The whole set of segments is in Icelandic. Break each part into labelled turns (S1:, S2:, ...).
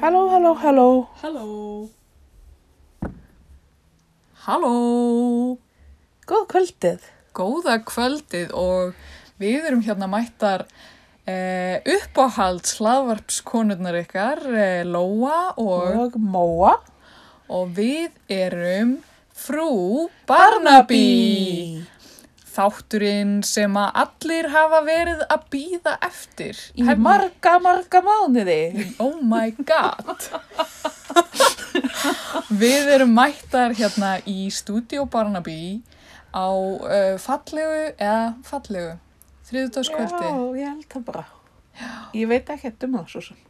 S1: Halló, halló, halló.
S2: Halló. Halló.
S1: Góð kvöldið.
S2: Góða kvöldið og við erum hérna mættar eh, uppáhald slaðvarpskonurnar ykkar, eh, Lóa og,
S1: Og Móa.
S2: og við erum frú Barnaby. Þátturinn sem að allir hafa verið að býða eftir.
S1: Í
S2: Hefni-
S1: marga, marga mánuði.
S2: Oh my god Við erum mættar hérna í Studio Barnaby á uh, fallegu eða fallegu þriðutaskvöldi
S1: Já, ég held það bara. Ég veit ekkert um það svo sem.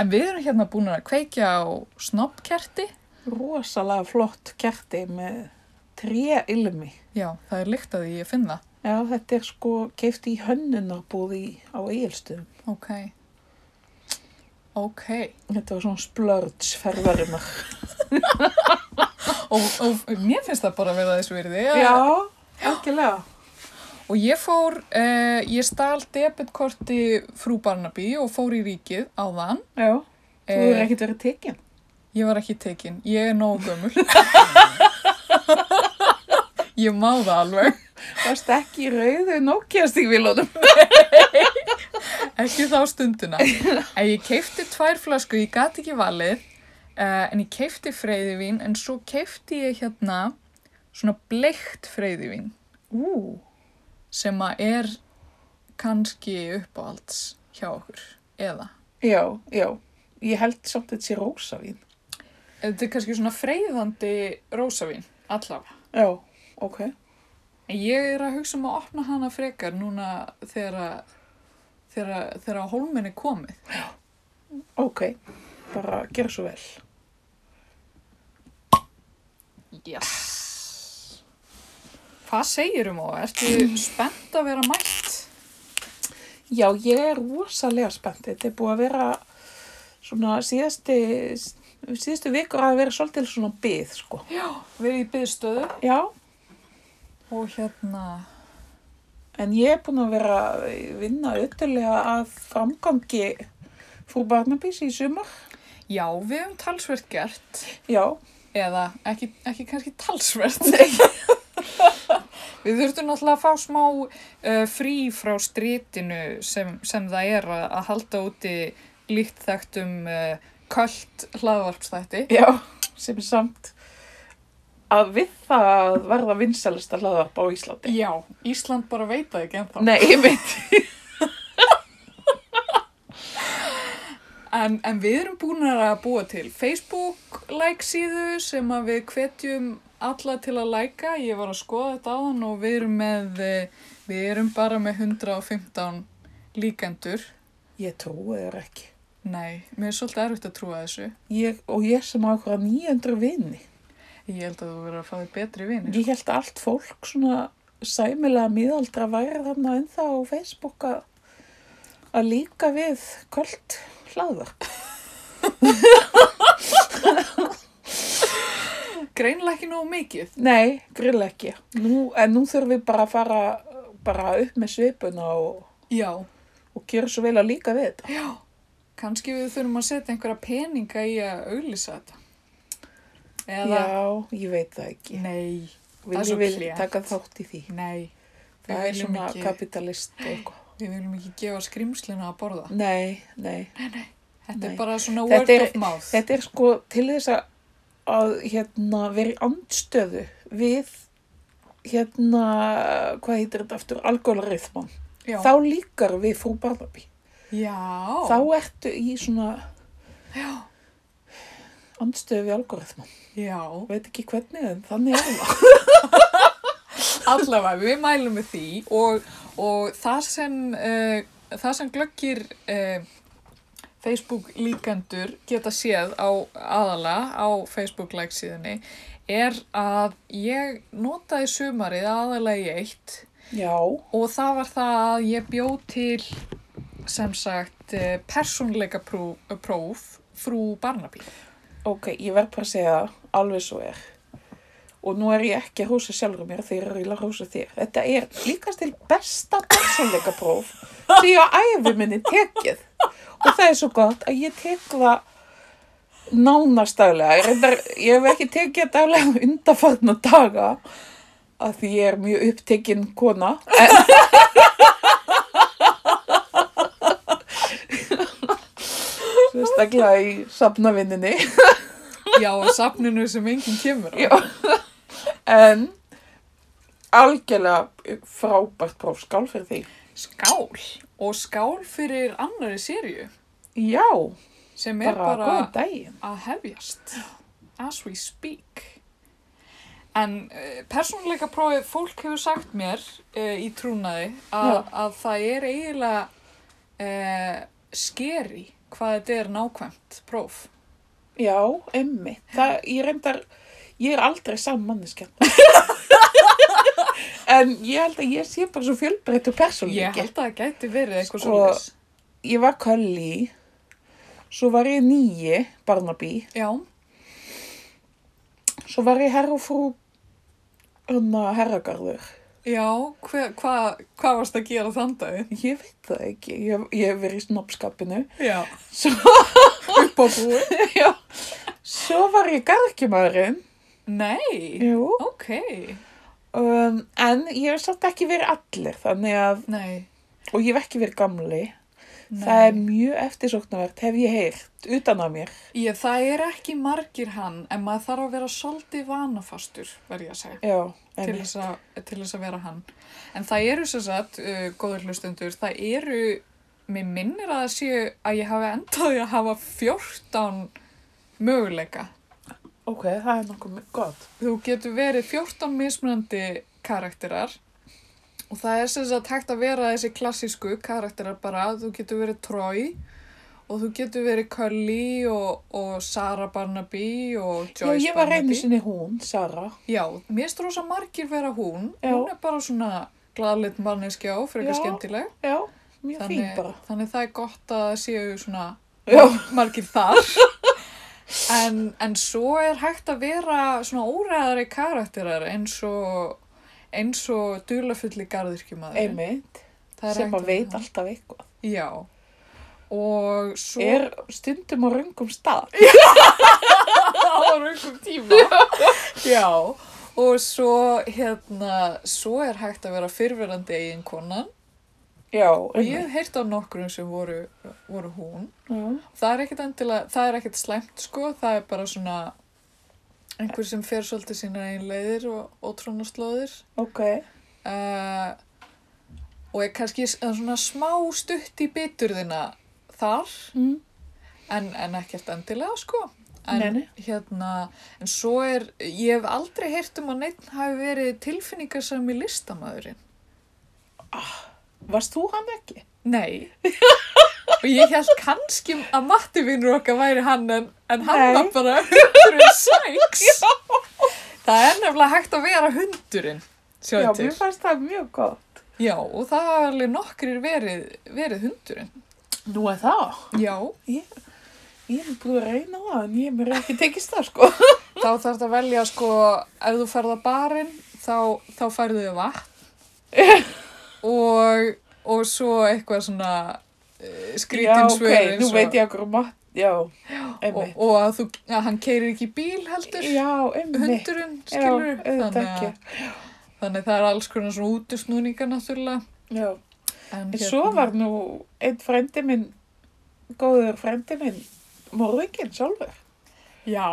S2: en við erum hérna búin að kveikja á snoppkerti
S1: Rosalega flott kerti með tré ilmi.
S2: Já, það er lykt að því ég finn það
S1: Já, þetta er sko keift í hönnunarbúði á eigilstöðum.
S2: Ok Ok
S1: Þetta var svona splörds ferðarinnar.
S2: og, og mér finnst það bara að vera þess virði að-
S1: Já, algjörlega.
S2: Og ég fór, uh, ég stál debitkorti frú Barnaby og fór í ríkið á þann
S1: Já, þú
S2: Eh,
S1: er ekkert verið tekinn.
S2: Ég var ekki tekin, ég er nógu gömul. ég má það alveg.
S1: Varst ekki í rauðu nókjastíkvílunum.
S2: Ekki þá stundina. En ég keipti tvær flasku, ég gat ekki valið, uh, en ég keipti freyðivín, en svo keipti ég hérna svona bleikt freyðivín
S1: Ú,
S2: sem að er kannski uppáhalds hjá okkur. Eða.
S1: já, já. Ég held samt þetta sé rósavín.
S2: Þetta er kannski svona freyðandi rósavín, allavega.
S1: Já, ok.
S2: En ég er að hugsa um að opna hana frekar núna þegar að þegar, að- þegar að hólminn er komið.
S1: Ok, bara gera svo vel.
S2: Yes. Hvað segir um og ertu spennt að vera mætt?
S1: Já, ég er rosalega spennt. Þetta er búið að vera svona síðasti, síðustu vikur að vera svolítið svona byð, sko.
S2: Já. Verið í byðstöðu
S1: Já,
S2: og hérna,
S1: en ég er búin að vera að vinna auðvitaðlega að framgangi frú Barnabís í sumar.
S2: já við hefum talsvert gert
S1: Já,
S2: eða ekki, ekki kannski talsvert. við þurftum náttúrulega að fá smá uh, frí frá strítinu sem, sem það er að, að halda úti líkt þekktum uh, köld hlaðvarpstætti.
S1: já, sem er samt að við það verða vinsælasta hlaðarp á Íslandi.
S2: Já, Ísland bara veit það ekki ennþá.
S1: Nei, ég veit.
S2: En, en við erum búin að búa til Facebook-like síðu sem að við hvetjum alla til að læka. Ég var að skoða þetta áðan og við erum, með, eh, við erum bara með 115 líkendur.
S1: Ég trúi þér ekki.
S2: Nei, mér er svolítið erfitt að trúa þessu.
S1: Ég, og ég sem á okkur 900 vini.
S2: Ég held að þú verður að fá þig betri vinir.
S1: Ég held að allt fólk svona sæmilega miðaldra væri þarna ennþá á Facebook að að líka við kvöld hlaður.
S2: Greinlega ekki nógu mikið.
S1: Nei, grill ekki. Nú, en nú þurfum við bara að fara bara upp með svipuna og,
S2: Já,
S1: og gera svo vel að líka við þetta.
S2: já. Kanski við þurfum að setja einhverja peninga í að auglýsa þetta. Eða,
S1: Já, ég veit það ekki.
S2: nei, það er
S1: Vil
S2: svo
S1: ég vil
S2: klént.
S1: taka þátt í því.
S2: nei. Við
S1: Það er
S2: viljum
S1: svona
S2: ekki-
S1: kapitalist og eitthvað.
S2: Við viljum ekki gefa skrimslina að borða.
S1: Nei, nei.
S2: Þetta
S1: Nei.
S2: er bara svona
S1: Þetta
S2: word
S1: er-
S2: of mouth.
S1: Þetta er sko til þess að, að hérna, vera í andstöðu við hérna, hvað heitir þetta aftur, alkoholrithman.
S2: já.
S1: Þá líkar við frú Barnaby.
S2: já.
S1: Þá ertu í svona andstöðu við algoritman.
S2: Já.
S1: Veit ekki hvernig en þannig er það.
S2: Allavega, við mælum með því og, og það sem, uh, það sem glöggir uh, Facebook líkendur geta séð á aðala á Facebook like síðunni er að ég notaði sumarið aðalega í eitt
S1: Já,
S2: og það var það að ég bjó til sem sagt eh, persónleika pró- próf frú Barnaby.
S1: ok, ég verð bara að segja það, alveg svo er. Og nú er ég ekki að hrósa sjálfur mér þegar ég er eiginlega að hrósa þér. Þetta er líkast til besta persónleikapróf sem ég á æfi minni tekið. og það er svo gott að ég tek það nánast daglega. Ég, reyndar, ég hef ekki tekið það daglega undarfarna daga að því ég er mjög upptekinn kona. En, Sérstaklega í safnavinninni.
S2: Já, á safninu sem enginn kemur á.
S1: Já. En algjörlega frábært prófskál fyrir því.
S2: Skál. Og skál fyrir annari sériu
S1: Já,
S2: sem er
S1: bara, bara...
S2: bara
S1: góðan daginn.
S2: að hefjast. As we speak. En uh, persónuleika prófið, fólk hefur sagt mér uh, í trúnaði að,
S1: Já.
S2: að það er eiginlega uh, skeri hvað þetta er nákvæmt próf.
S1: Já, emmi. Það, ég reyndar, ég er aldrei saman manneskjan. en ég held að ég sé bara svo fjölbreytt og
S2: Ég
S1: persónleiki.
S2: held að það gæti verið eitthvað
S1: Sko-
S2: sko, svoleiðis.
S1: Ég var Kölli, svo var ég nýji, Barnaby,
S2: Já,
S1: svo var ég herra og frú, hérna, herragarður.
S2: já, hver- hvað hva varst að gera þann daginn?
S1: Ég veit það ekki, ég, ég hef verið í snoppskapinu.
S2: Já,
S1: Svo,
S2: upp á búi.
S1: já, svo var ég garðkjumarinn.
S2: Nei,
S1: Jú.
S2: ok,
S1: Um, en ég hef samt ekki verið allir, þannig að,
S2: nei,
S1: og ég hef ekki verið gamli.
S2: nei.
S1: Það er mjög eftirsóknarvert, hef ég heyrt, utan á mér.
S2: Ég, það er ekki margir hann, en maður þarf að vera svolítið vanafastur, verð ég að segja,
S1: Já,
S2: til
S1: en,
S2: þess, að, til þess að vera hann. En það eru sem sagt, uh, góður hlustundur, það eru, mér minnir að það séu að ég hafi endaði að hafa 14 möguleika.
S1: ok, það er nokkuð mi- gott.
S2: Þú getur verið 14 mismunandi karakterar og það er sem sagt hægt að vera þessi klassísku karakterar bara, þú getur verið Troy og þú getur verið Cully og, og Sarah Barnaby og Joyce
S1: Já,
S2: Barnaby.
S1: ég var einu sinni hún, Sara.
S2: Já, mér finnst rosa margir vera hún,
S1: Já.
S2: hún er bara svona glaðleitt manneskja og frekar
S1: Já,
S2: skemmtileg.
S1: Já, mjög fín
S2: Þannig,
S1: bara.
S2: þannig það er gott að það séu svona
S1: Já.
S2: margir þar. en, en svo er hægt að vera svona óræðari karakterar eins og eins og dulafulli garðirkjumaður.
S1: Einmitt, sem að veit alltaf eitthvað.
S2: Já. Og svo...
S1: Er stundum á röngum stað.
S2: á raungum tíma. Já. Og svo, hérna, svo er hægt að vera fyrverandi eiginkonan.
S1: Já,
S2: Ég
S1: einmitt.
S2: hef heyrt á nokkrum sem voru, voru hún.
S1: Já.
S2: Það er ekkert endilega, það er ekkert slæmt sko, það er bara svona einhver sem fer svolítið sína einn leiðir og, og trónaslóðir
S1: Ok,
S2: uh, og er kannski s- eh, svona smá stutt í biturðina þar
S1: Mm.
S2: en, en ekkert endilega sko. En,
S1: Nei, nei.
S2: Hérna, en svo er, ég hef aldrei heyrt um að neitt hafi verið tilfinningarsami listamæðurinn.
S1: varst þú hann ekki?
S2: Nei. og ég held kannski að mattivinnur okkar væri hann en, en hann
S1: Nei.
S2: var bara hundurinn sæks. það er nefnilega hægt að vera hundurinn.
S1: Já,
S2: Sjáðu til.
S1: mér fannst það mjög gott.
S2: Já, og það hafa alveg nokkrir verið, verið hundurinn.
S1: Nú er það?
S2: Já.
S1: Ég hef búin að reyna það en ég hef mér ekki tekist það sko.
S2: Þá þarf þetta að velja sko, ef þú ferð að barinn, þá, þá færðu þau vatn og, og svo eitthvað svona uh, skrítin svör
S1: Já, ok, nú veit ég okkur um mat. Já,
S2: og,
S1: einmitt.
S2: og að, þú, að hann keirir ekki bíl heldur,
S1: Já, einmitt.
S2: hundurinn,
S1: Já,
S2: skilur
S1: auðvitað ekki.
S2: þannig að það er alls konar svona útusnúningar náttúrulega.
S1: Já,
S2: En hérna-
S1: en svo var nú einn frendi minn, góður frendi minn, morðinginn sjálfur.
S2: Já,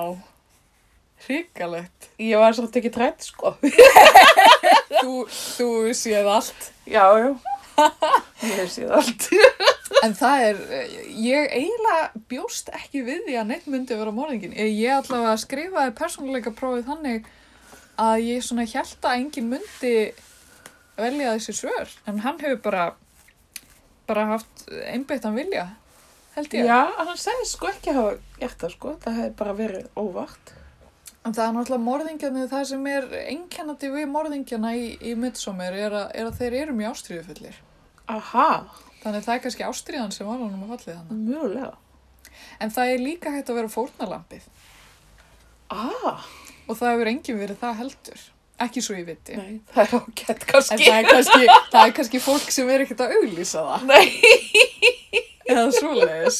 S2: hrikalegt.
S1: Ég var svolítið ekki trætt sko.
S2: þú, þú séð allt.
S1: Já, já. Ég hef séð allt.
S2: En það er, ég eiginlega bjóst ekki við því að neitt myndi vera morðingin. Ég, ég allavega skrifaði persónuleika prófið þannig að ég svona held að enginn myndi velja þessi svör. En hann hefur bara, bara haft einbeittan vilja, held ég.
S1: Já, hann sagði sko ekki að hafa gert það sko. Það hefði bara verið óvart.
S2: En það er náttúrulega morðingjarnir, það sem er einkennandi við morðingjana í, í midsommar er, að- er að þeir eru mjög ástríðufullir.
S1: Aha,
S2: Þannig það er kannski ástríðan sem var honum að fallið hann.
S1: mjögulega.
S2: En það er líka hægt að vera fórnalampið.
S1: Ah,
S2: Og það hefur enginn verið það heldur. Ekki svo ég viti.
S1: nei, það er ágætt
S2: En
S1: kannski.
S2: það er, kannski, það er kannski fólk sem er ekkert að auglýsa það.
S1: Nei,
S2: eða svoleiðis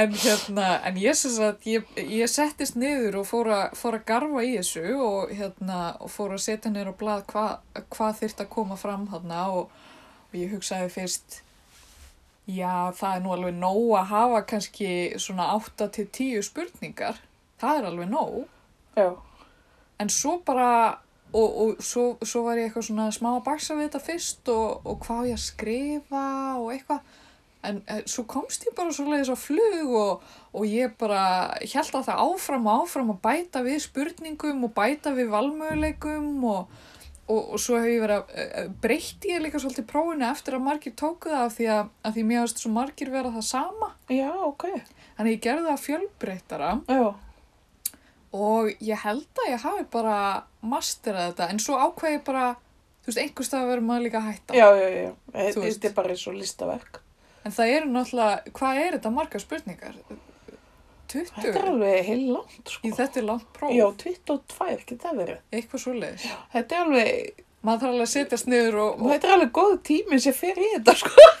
S2: en hérna, en ég sem sagt ég, ég settist niður og fór, a, fór að garfa í þessu og hérna og fór að setja niður á blað hva, hvað þyrft að koma fram hérna og, og ég hugsaði fyrst já, það er nú alveg nóg að hafa kannski svona 8-10 spurningar það er alveg nóg
S1: Já,
S2: en svo bara og, og svo, svo var ég eitthvað svona smá að baksa við þetta fyrst og, og hvað á ég að skrifa og eitthvað en, en svo komst ég bara svoleiðis á flug og, og ég bara held að það áfram og áfram að bæta við spurningum og bæta við valmöguleikum og, og, og svo hef ég verið að eh, eh, breytti ég líka svolítið prófinu eftir að margir tóku það af því að, að því mér hafðist svo margir vera það sama
S1: já, ok.
S2: þannig ég gerði það fjölbreyttara
S1: Já,
S2: og ég held að ég hafi bara masterað þetta en svo ákveði ég bara þú veist, einhvers stað verður maður líka að hætta
S1: já, já, já. E-
S2: Þú veist.
S1: Þetta er bara eins og listaverk.
S2: en það eru náttúrulega, hvað er þetta margar spurningar? 20?
S1: Þetta er alveg heil langt, sko.
S2: Í þetta er langt próf,
S1: Já, 22 geta verið.
S2: eitthvað svoleiðis
S1: Þetta er alveg,
S2: maður þarf alveg að setjast niður og, og
S1: þetta er alveg góð tími sem fer í þetta, sko.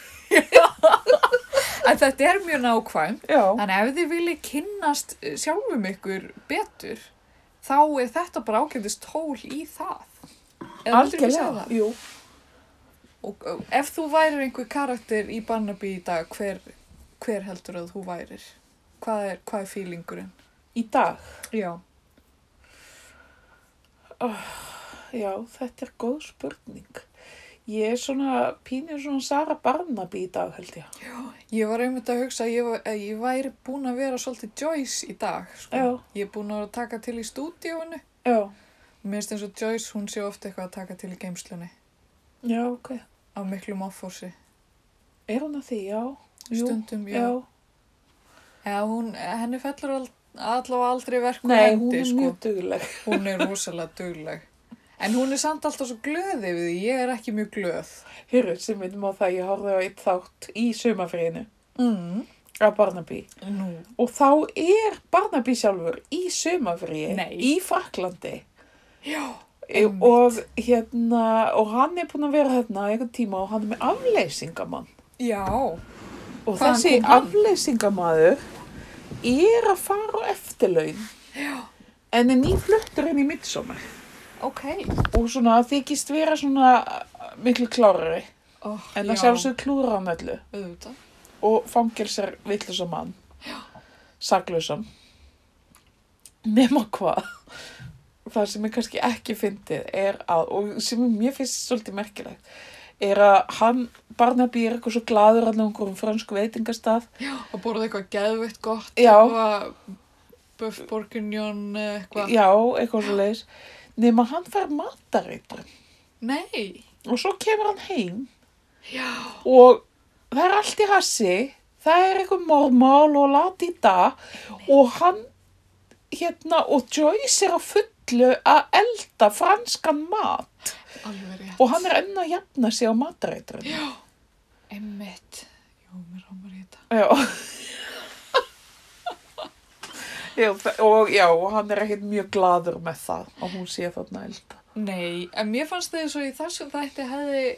S2: en þetta er mjög nákvæm
S1: Já,
S2: en ef þið viljið kynnast eh, sjálfum ykkur betur þá er þetta bara ágætist tól í það Eða myndirðu ekki segja
S1: algjörlega.
S2: það?
S1: Jú,
S2: Og uh, ef þú værir einhver karakter í Barnaby í dag, hver, hver heldur að þú værir? Hvað er, hvað er feelingurinn?
S1: í dag.
S2: Já.
S1: Já, þetta er góð spurning. Ég er svona pínir svona Sara Barnaby í dag, held ég.
S2: Ég var einmitt að hugsa að ég, var- að ég væri búin að vera svolítið Joyce í dag. Sko.
S1: Já.
S2: Ég er búin að vera að taka til í stúdíóinu.
S1: Já,
S2: Mér finnst eins og Joyce, hún sé ofta eitthvað að taka til í geimslunni.
S1: já, ok.
S2: Af miklum áfósi.
S1: Er hún að því? Já. Jú,
S2: Stundum,
S1: Já.
S2: já. Já, hún, henni fellur al, allavega aldrei verkur
S1: Nei,
S2: hendi,
S1: hún er
S2: sko.
S1: mjög dugleg.
S2: Hún er rosalega dugleg. En hún er samt alltaf svo glöð yfir því. Ég er ekki mjög glöð.
S1: Hyrru, sem veitum á það, ég horfði á eitt þátt í sumafriðinu
S2: Mm.
S1: af Barnaby.
S2: Nú.
S1: Og þá er Barnaby sjálfur í sumafriði
S2: Nei.
S1: í Fraklandi.
S2: Já. einmitt.
S1: Og, hérna, og hann er búinn að vera hérna einhvern tíma og hann er með afleysingamann.
S2: Já.
S1: Og
S2: Hvaðan
S1: þessi
S2: kom hann?
S1: afleysingamaður er að fara á eftirlaun. En er nýfluttur inn í midsommar.
S2: Ok.
S1: Og svona þykist vera svona miklu klárari.
S2: Oh,
S1: En það sjálfsög klúra hann öllu.
S2: Auðvitað.
S1: og fangilsar villusa mann saklusam nema hvað það sem ég kannski ekki fyndið er að, og sem mér finnst svolítið merkilegt, er að hann Barnaby er eitthvað svo glaður allavega einhverjum frönsku veitingastað
S2: Og borðið eitthvað geðvitt gott.
S1: Já.
S2: Eitthvað buff borgunjón eitthvað.
S1: já, eitthvað svo leiðis nema hann fær matareitrun
S2: Nei.
S1: og svo kemur hann heim
S2: Já.
S1: og það er allt í rassi það er eitthvað mormál og latita og hann hérna og Joyce er á fullu að elda franskan mat
S2: Alveg rétt.
S1: og hann er enn að jafna sig á matareitrun
S2: Já. Einmitt. Jú, mér rámar í þetta.
S1: Já. Já, þa- og já, og hann er ekkert mjög gladur með það að hún sé þarna að elda.
S2: Nei, en mér fannst það eins og í þessum þætti hefði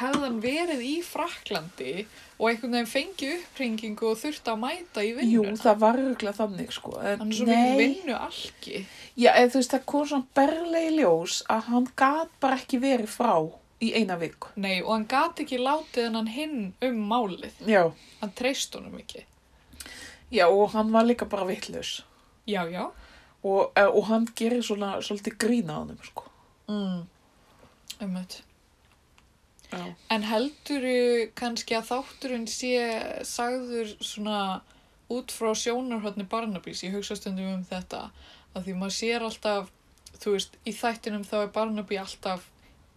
S2: hefðan verið í Fraklandi og einhvern veginn fengi uppringingu og þurfti að mæta í
S1: Jú,
S2: vinnuna.
S1: það var örgulega þannig, sko. En,
S2: Hann er svo mikið
S1: nei.
S2: vinnu algi.
S1: Já, eða þú veist, það kom svona berlega í ljós að hann gat bara ekki verið frá í eina viku.
S2: Nei, og hann gat ekki látið hennan hinn um málið.
S1: Já.
S2: Hann treyst honum ekki.
S1: Já, og hann var líka bara vitlaus.
S2: Já, já.
S1: Og, eh, og hann gerir svona svolítið grína á hann, sko.
S2: Mm. Umhett.
S1: Já.
S2: En helduru kannski að þátturinn sé sagður svona út frá sjónarhörni Barnabys, ég hugsa stundum um þetta, að því maður sér alltaf, þú veist, í þættinum þá er Barnaby alltaf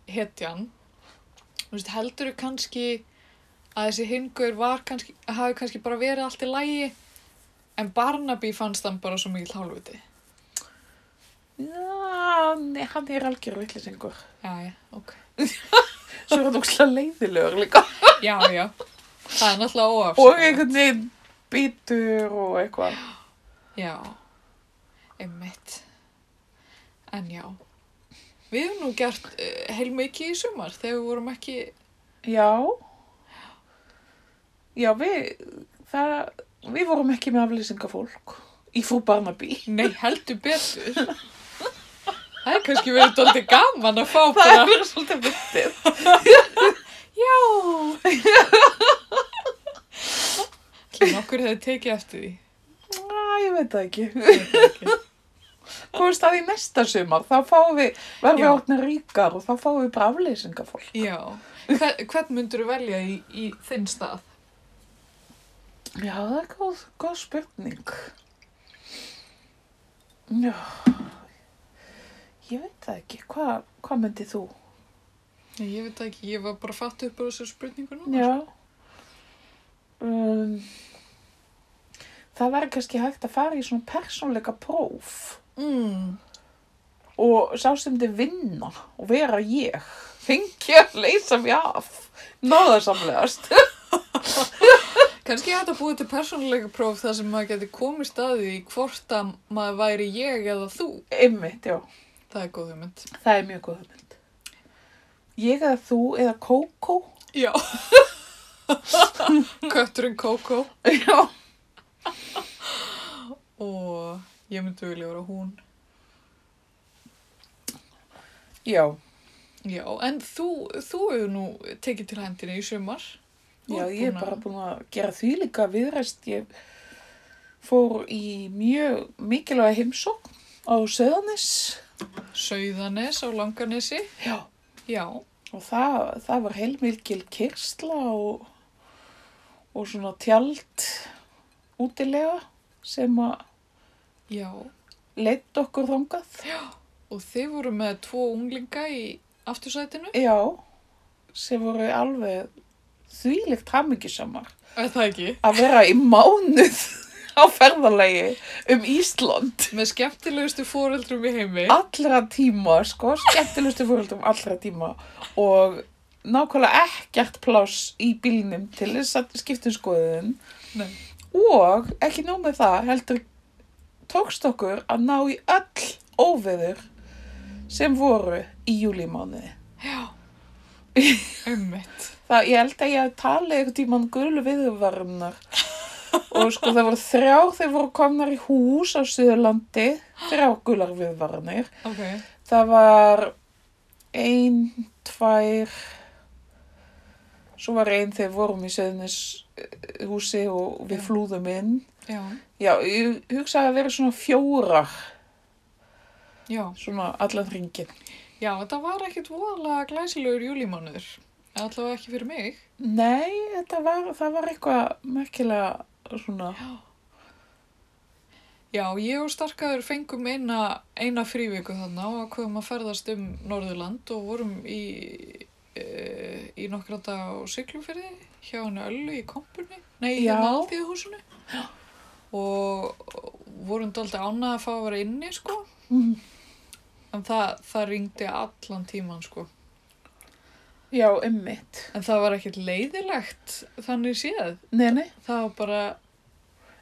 S2: hetjan, þú veist, helduru kannski að þessi hingur var kannski, hafi kannski bara verið allt í lægi, en Barnaby fannst hann bara svo mikið hálfviti.
S1: Já, nei, hann er algjör vitleysingur.
S2: Já, já, ok.
S1: Svo er hann ógslag leiðilegur líka.
S2: Já, já, það er náttúrulega óafsakað.
S1: Og einhvern veginn bitur og eitthvað.
S2: Já, einmitt. En já, við höfum nú gert eh, uh, heilmikið í sumar þegar við vorum ekki,
S1: Já. Já, við, það, við vorum ekki með aflýsingafólk í frú Barnaby.
S2: Nei, heldur betur. Það er kannski verið dólti gaman að fá
S1: Það
S2: bara.
S1: er verið svolítið myndið.
S2: Já. Þannig okkur hefði tekið eftir því.
S1: Næ, ég veit það ekki.
S2: Ég veit það ekki.
S1: Komist að í næsta sumar, þá fáum við, verðum við
S2: Já.
S1: átna ríkar og þá fáum við bara aflýsingafólk.
S2: Já. Hver, hvern myndur þú velja í, í þinn stað?
S1: Já, það er góð, góð spurning. Já, ég veit það ekki. Hva, hvað myndið þú?
S2: Nei, Ég veit það ekki, ég var bara fatt upp á þessu spurningu núna.
S1: Já. Um, það væri kannski hægt að fara í svona persónleika próf
S2: Mm.
S1: og sá sem þið vinna og vera ég. Fengi að leysa mér af. Náðarsamlegast.
S2: Kannski ég hætti að búið til persónuleika próf þar sem maður geti komist að því hvort að maður væri ég eða þú.
S1: Einmitt, já.
S2: Það er góð hugmynd.
S1: Það er mjög góð hugmynd. Ég eða þú eða Kókó.
S2: Já. Kötturinn Kókó
S1: Já.
S2: og ég myndi vilja vera hún.
S1: Já.
S2: Já, en þú, þú hefur nú tekið til hendina í sumar. Þú
S1: Já,
S2: ert
S1: ég er
S2: búin
S1: bara
S2: að-
S1: búin að gera því líka viðræst. Ég fór í mjög mikilvæga heimsókn á Söðanis.
S2: Sauðanes á Langanesi.
S1: Já.
S2: Já,
S1: Og það, það var heilmilgil kyrsla og, og svona tjald útilega sem að
S2: já.
S1: leitt okkur þangað. Já.
S2: Og þið voru með tvo unglinga í aftursætinu.
S1: sem voru alveg þvílegt hamingisamar
S2: Er það ekki?
S1: að vera í mánuð á ferðalegi um Ísland.
S2: Með skemmtilegustu fóreldrum í heimi.
S1: Allra tíma, sko, skemmtilegustu fóröldum allra tíma og nákvæmlega ekkert pláss í bílnum til þess að skiptum skoðun.
S2: Nei.
S1: Og ekki nóg með það, heldur tókst okkur að ná í öll óveður sem voru í júlímánuði.
S2: Já. Ömmit.
S1: Það, ég held að ég hafi talið eitthvað tíman gulu viðvarunar og sko það voru þrjár, þeir voru komnar í hús á Suðurlandi, þrjár gular viðvarunir.
S2: Ok.
S1: Það var ein, tvær, svo var ein þegar við vorum í Suðurnis húsi og við
S2: Já.
S1: flúðum inn.
S2: Já.
S1: Já, ég hugsaði að vera svona fjórar,
S2: Já.
S1: svona allan ringin.
S2: Já, þetta var ekkit voðalega glæsilegur júlímánuður. Allavega ekki fyrir mig.
S1: Nei, þetta var, það var eitthvað merkilega svona,
S2: Já, ég og Starkaður fengum eina, eina fríviku þarna og ákveðum að ferðast um Norðurland og vorum í, e, í nokkra dag á Siglufyrði hjá henni Öllu í kompunni, nei,
S1: Já.
S2: hérna alþjóðhúsinu og vorum dálítið ánað að fá að vera inni, sko,
S1: mm,
S2: en það, það ringdi allan tíman, sko.
S1: já, ummitt.
S2: En það var ekkert leiðilegt, þannig séð,
S1: Nei, nei,
S2: það var bara,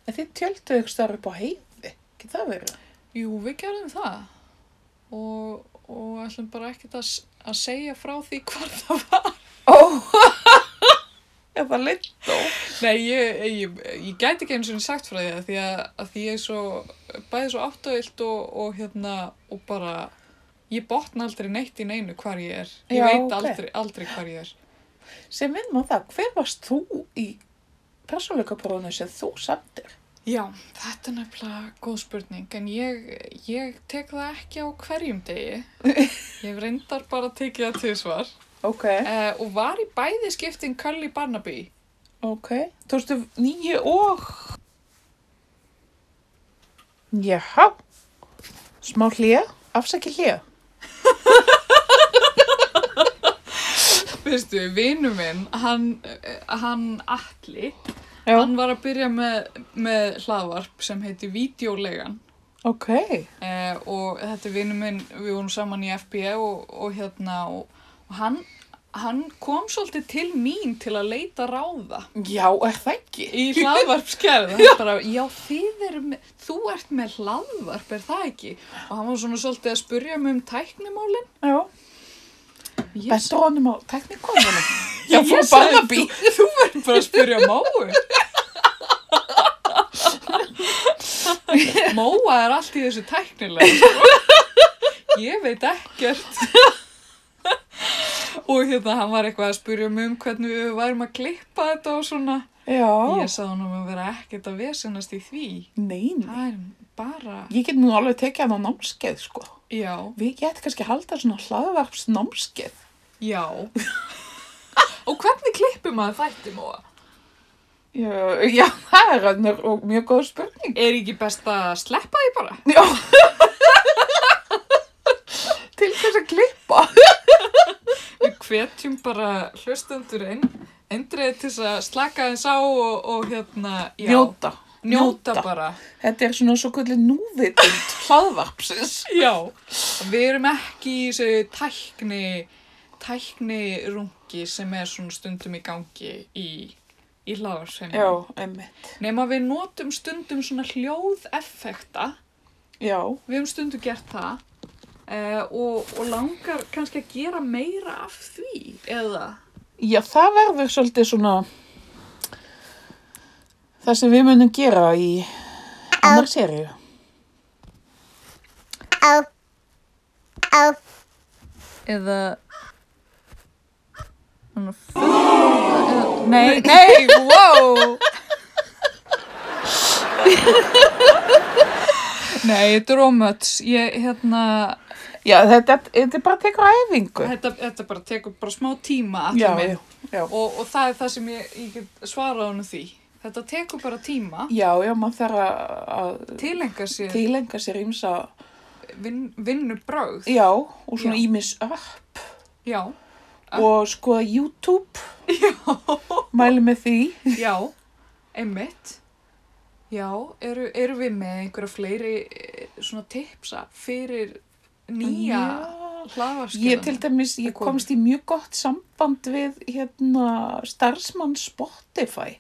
S1: en þið tjöldu ykkur starf upp á heiði, ekki það verið?
S2: jú, við gerðum það og, og ætlum bara ekkert að, s- að segja frá því hvar það var.
S1: Ó, eða lindó.
S2: Nei, ég, ég, ég gæti ekki eins og sagt frá því að því að, að því ég er svo, bæði svo áttavilt og, og hérna, og bara, ég botna aldrei neitt í neinu hvar ég er. Ég
S1: Já,
S2: veit
S1: ok.
S2: aldrei, aldrei hvar ég er.
S1: Sem minn maður það, hver varst þú í persónleika prófunu sem þú samtir?
S2: Já, þetta er nefnilega góð spurning, en ég, ég tek það ekki á hverjum degi. Ég hef reyndar bara tekið það til svar.
S1: Ok.
S2: Uh, og var í bæði skiptin Cully Barnaby.
S1: Ok, 2009 og... Jaha, smá hlýja, afsækja hlýja.
S2: Veistu, vinnu minn, hann, eh, hann Alli,
S1: Já,
S2: Hann var að byrja með, með hlaðvarp sem heiti Vídeólegan
S1: ok.
S2: eh, og þetta er vinnu minn, við vorum saman í FBI og, og hérna og, og hann, hann kom svolítið til mín til að leita ráða
S1: Já, er það ekki?
S2: í hlaðvarpskerð já. Bara, já, þið eru með, þú ert með hlaðvarp, er það ekki? Og hann var svona svolítið að spurja mig um tæknimálin
S1: Já,
S2: Ég-
S1: bentur honum á teknikonunum. Já,
S2: Ég
S1: frú
S2: sagði
S1: Barnaby.
S2: Þú verður bara að spyrja Móu. Móa er allt í þessu tæknilega. Sko. Ég veit ekkert. Og hérna, hann var eitthvað að spyrja mig um hvernig við værum að klippa þetta og svona.
S1: Já.
S2: Ég sagði hann um að vera ekkert að vesenast í því.
S1: Nei, nei.
S2: Það er bara,
S1: Ég get nú alveg tekið hann á námskeið, sko.
S2: já,
S1: Við getum kannski að halda svona hlaðvarps námskeið.
S2: já. Og hvernig klippum maður þætti, Móa?
S1: Já, já, það er önnur og mjög góð spurning.
S2: Er ekki best að sleppa því bara?
S1: Já. Til hvers að klippa.
S2: Við hvetjum bara hlustendur einn, endrið til þess að slaka þess á og, og hérna, já,
S1: Njóta.
S2: njóta bara.
S1: Þetta er svona svo kvöldi núvitund hlaðvarpsins.
S2: Já. Við erum ekki í þessu tækni, tækni rungi sem er svona stundum í gangi í, í hláðarsveimum.
S1: Já, einmitt.
S2: Nefn að við notum stundum svona hljóðeffekta,
S1: Já,
S2: við höfum stundum gert það eh, og, og langar kannski að gera meira af því eða...
S1: já, það verður svolítið svona það sem við munum gera í annar seríu.
S2: Eða... Þannig að
S1: Nei, nei, wow!
S2: Nei, þetta er ómöts. Ég, hérna,
S1: Já, þetta, þetta er bara tekur æfingu.
S2: þetta, um þetta bara tekur bara smá tíma
S1: Já,
S2: allir
S1: já,
S2: minn.
S1: já.
S2: Og, og það er það sem ég, ég get svarað honum því. Þetta tekur bara tíma,
S1: Já, já, maður þarf að- að
S2: tilenga sér Til...
S1: tilenga sér ímsa,
S2: vin, vinnubrögð.
S1: já, og svona
S2: Já.
S1: ímis upp
S2: Já,
S1: og skoða YouTube. Já. Mæli með því.
S2: já, einmitt. Já, eru, eru við með einhverja fleiri eh, svona tipsa fyrir nýja
S1: Já.
S2: hlaðvarskjöðan?
S1: Ég til dæmis, ég
S2: Það kom.
S1: komst í mjög gott samband við hérna starfsmann Spotify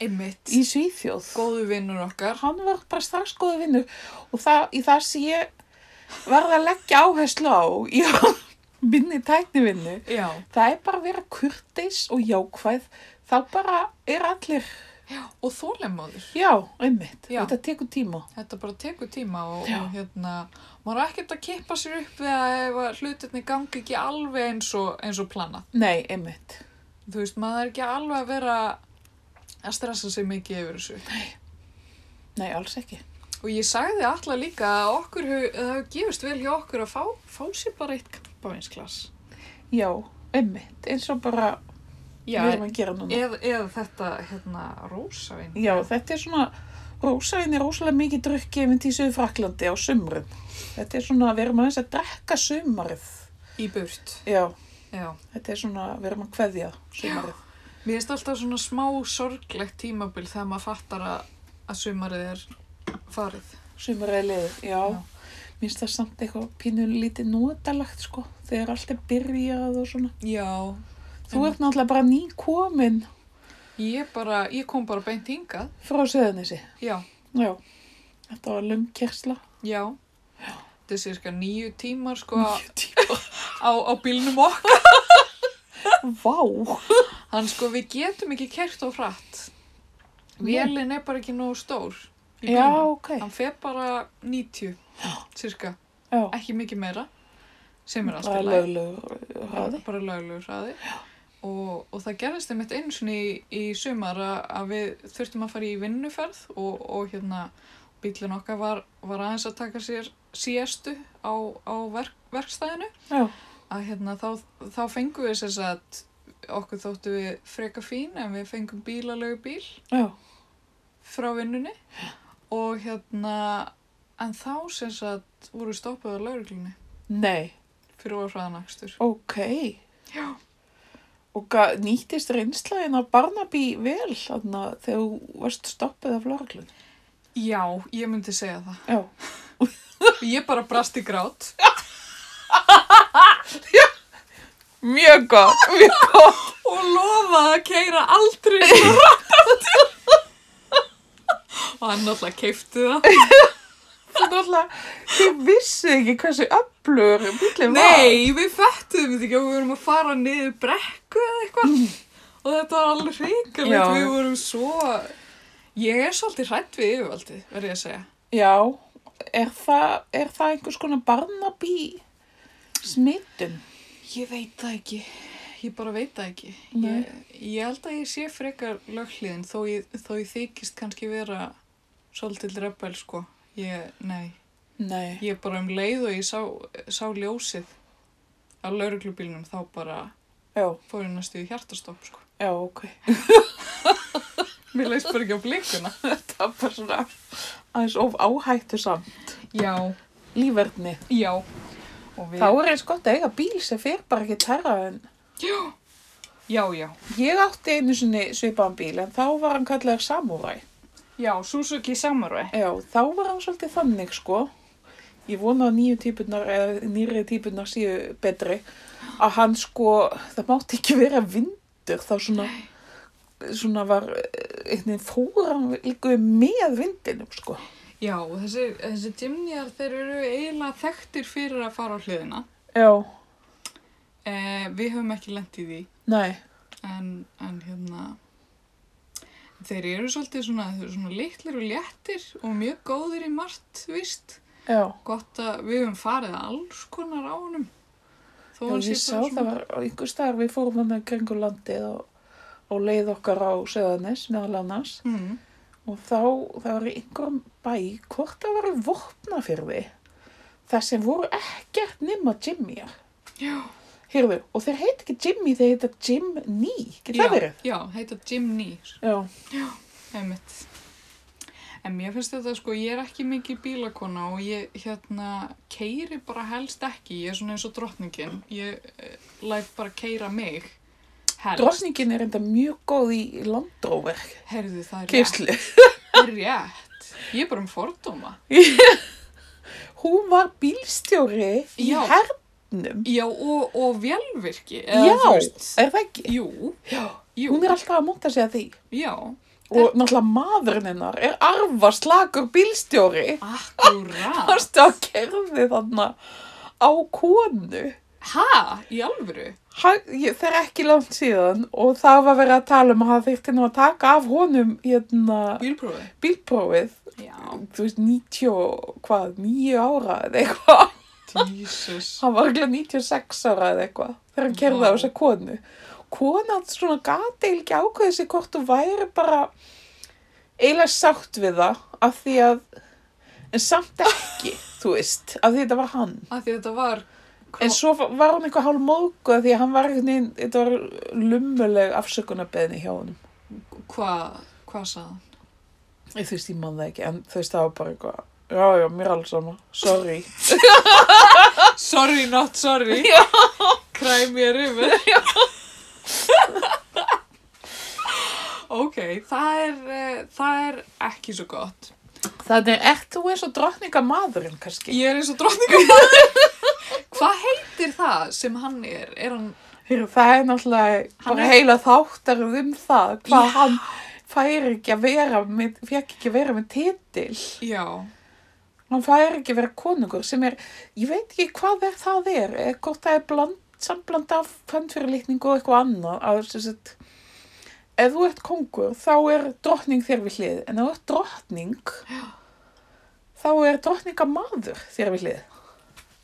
S2: Einmitt,
S1: í Svíþjóð.
S2: góðu vinnur okkar.
S1: Hann var bara strax góðu vinnur og það, í það sem ég varði að leggja áherslu á í minni tæknivinnu.
S2: Já,
S1: Það er bara að vera kurteis og jákvæð, þá bara er allir,
S2: og þólemóður.
S1: já, einmitt,
S2: Já.
S1: þetta tekur tíma.
S2: Þetta bara tekur tíma og,
S1: Já.
S2: og hérna, maður er ekkert að kippa sér upp við að ef að hlutinni gangi ekki alveg eins og, eins og planað.
S1: Nei, einmitt.
S2: Þú veist, maður er ekki alveg að vera að stressa sig mikið yfir þessu.
S1: Nei, alls ekki.
S2: Og ég sagði alltaf líka að okkur, hef, það hefur gefist vel hjá okkur að fá, fá sér bara eitt kampavinsglas.
S1: Já, einmitt, eins og bara
S2: Já,
S1: við erum að gera núna.
S2: eða, eða þetta, hérna, rósavinn.
S1: Já, þetta er svona, rósavinn er rosalega mikið drukki einmitt í Suðfraklandi á sumrun. Þetta er svona, við erum aðeins að drekka sumarið.
S2: Í burt,
S1: Já,
S2: já.
S1: þetta er svona, við erum að kveðja sumarið.
S2: Mér finnst alltaf svona smá sorglegt tímabil þegar maður fattar að, að sumarið er farið.
S1: Sumarið er liðið, já.
S2: Já.
S1: Mér finnst það samt eitthvað pínu lítið nótalagt, sko, þegar allt er byrjað og svona.
S2: Já,
S1: Þú ert náttúrulega bara nýkomin
S2: Ég bara, ég kom bara beint hingað.
S1: frá Suðanessi.
S2: Já,
S1: Já, þetta var löng kersla.
S2: já. Þetta er sérska nýju tímar sko
S1: Mjög tíma.
S2: á, á bílnum okkar.
S1: Vá.
S2: Þannig sko við getum ekki kert á hratt. Vélinn er bara ekki nógu stór. í
S1: Já,
S2: bílnum.
S1: ok.
S2: Hann fer bara 90, sérska.
S1: Já,
S2: Ekki mikið meira. Sem er
S1: það
S2: alltaf
S1: er
S2: læg.
S1: löglegur hraði.
S2: Bara löglegur hraði. Og, og það gerðist einmitt einu sinni í, í sumar að, að við þurftum að fara í vinnuferð og, og hérna bílinn okkar var, var aðeins að taka sér síestu á, á verk, verkstæðinu
S1: Já,
S2: að hérna þá, þá fengum við þess að okkur þóttu við freka fín en við fengum bílalögu bíl
S1: já,
S2: frá vinnunni og hérna en þá sem sagt voru stoppuð á lauruglunni
S1: nei.
S2: fyrir orðraðanakstur.
S1: Ok.
S2: Já.
S1: Og ga- nýttist reynslaðin á Barnaby vel þannig að þegar þú varst stoppið af lörglun?
S2: Já, ég myndi segja það.
S1: Já.
S2: Ég bara brast í grát.
S1: Mjög gott, mjög gott.
S2: og lofaði að keira aldrei svo rætt aftur og hann náttúrulega keifti það
S1: Þú náttúrulega, þið vissu ekki hversu öflur bílið var.
S2: nei, við fættum þetta ekki og við vorum að fara niður brekku eða eitthvað og þetta var alveg
S1: Já.
S2: hrikalegt, við vorum svo, ég er svolítið hrætt við yfirvaldið, verður ég að segja.
S1: Já, er það, er það einhvers konar barnabí smitun?
S2: Ég veit það ekki, ég bara veit það ekki.
S1: Nei.
S2: Ég, ég held að ég sé frekar lögliðin þó ég, þó ég þykist kannski vera svolítið rebel sko. Ég, nei,
S1: Nei.
S2: ég bara um leið og ég sá, sá ljósið á lauruglubílnum þá bara
S1: Já,
S2: fór ég næstu í hjartastopp sko.
S1: já, ok.
S2: Mér leist bara ekki á blikuna.
S1: Það var bara svona aðeins of áhættu samt.
S2: Já,
S1: Lífverðni.
S2: já. Og við,
S1: Þá er eins gott að eiga bíl sem fer bara ekki terra en
S2: já, já.
S1: ég átti einu sinni svipaðan bíl en þá var hann kallar samúræ.
S2: Já, Suzuki Samurai.
S1: Já, þá var hann svolítið þannig sko. Ég vona að nýju típunar eða nýri típunar séu betri að hann sko, það mátti ekki vera vindur þá svona svona var eh, einhvern veginn fór hann líka með vindinum sko.
S2: Já, þessi, þessi dimnjar þeir eru eiginlega þekktir fyrir að fara á hliðina.
S1: Já,
S2: Eh, við höfum ekki lent í því.
S1: nei,
S2: en, en hérna þeir eru svolítið svona, þeir eru svona litlir og léttir og mjög góðir í margt, víst
S1: já.
S2: gott að við höfum farið alls konar á honum þó
S1: Já, ég sá það var á einhver staðar við fórum hann kringu landið og, og leið okkar á Söðanes meðal annars
S2: mm,
S1: og þá það var í einhverjum bæ hvort það var í vopnafyrði þar sem voru ekkert nema Jimmyar.
S2: já,
S1: Hérðu, og þeir heit ekki Jimmy, þeir heita Jim Ný, getur það
S2: já,
S1: verið?
S2: já, heita Jim Neer
S1: Já,
S2: einmitt en mér finnst þetta sko, ég er ekki mikið bílakona og ég hérna keiri bara helst ekki, ég er svona eins og drottningin ég eh, læt bara keira mig helst,
S1: drottningin er enda mjög góð í landróver,
S2: heyrðu það er
S1: kyrslu.
S2: Það er rétt. Ég er bara um fordóma.
S1: Hún var bílstjóri í
S2: Já.
S1: hernum.
S2: Já, og, og velvirki.
S1: Já, er það ekki?
S2: Jú,
S1: Já,
S2: jú.
S1: hún er alltaf að monta sig að því.
S2: Já,
S1: Og náttúrulega maðurinn hennar er arfa slagur bílstjóri.
S2: akkurát.
S1: Þarstu að kerði þarna á konu.
S2: ha, í alvöru?
S1: Hann, ég, það er ekki langt síðan og það var verið að tala um að það þyrfti nú að taka af honum hérna,
S2: Bílprófi.
S1: bílprófið.
S2: Já.
S1: Þú veist, 90, og- hvað, 9 ára eða eitthvað.
S2: Jesus.
S1: Hann var ekki 96 ára eða eitthvað þegar hann kerði á
S2: Vá.
S1: þessa konu. Konan svona gati ekki ákveðið sig hvort þú væri bara eiginlega sátt við það af því að, en samt ekki, þú veist, af því þetta var hann.
S2: Af því þetta var...
S1: En svo var hún eitthvað hálf móðgu af því að hann var einhvern veginn, þetta var lummuleg afsökunarbeðni hjá honum.
S2: Hvað, hvað sagði hann?
S1: Ég þú veist, ég man það ekki, en þú veist, það var bara eitthvað, já, já, mér er alls sama, sorry.
S2: Sorry, not sorry.
S1: Já.
S2: Kræm mér yfir. Já. ok, það er, eh, það er ekki svo gott.
S1: Þannig, ert þú eins og drottninga maðurinn, kannski?
S2: Ég er eins og drottningamaður. Hvað heitir það sem hann er? Er hann...
S1: Heyrðu, það er náttúrulega
S2: Hann
S1: bara
S2: er-
S1: heila þáttarð um það, hvað
S2: Já.
S1: hann fær ekki að vera með, fekk ekki að vera með titil.
S2: Já,
S1: Hann fær ekki að vera konungur sem er, ég veit ekki hvað er það er, eða hvort það er bland, sambland af fannfyrirlitningu og eitthvað annað. Að, sem sagt, ef þú ert kongur, þá er drottning þér við hlið, en ef þú ert drottning, þá er drottninga maður þér við hlið.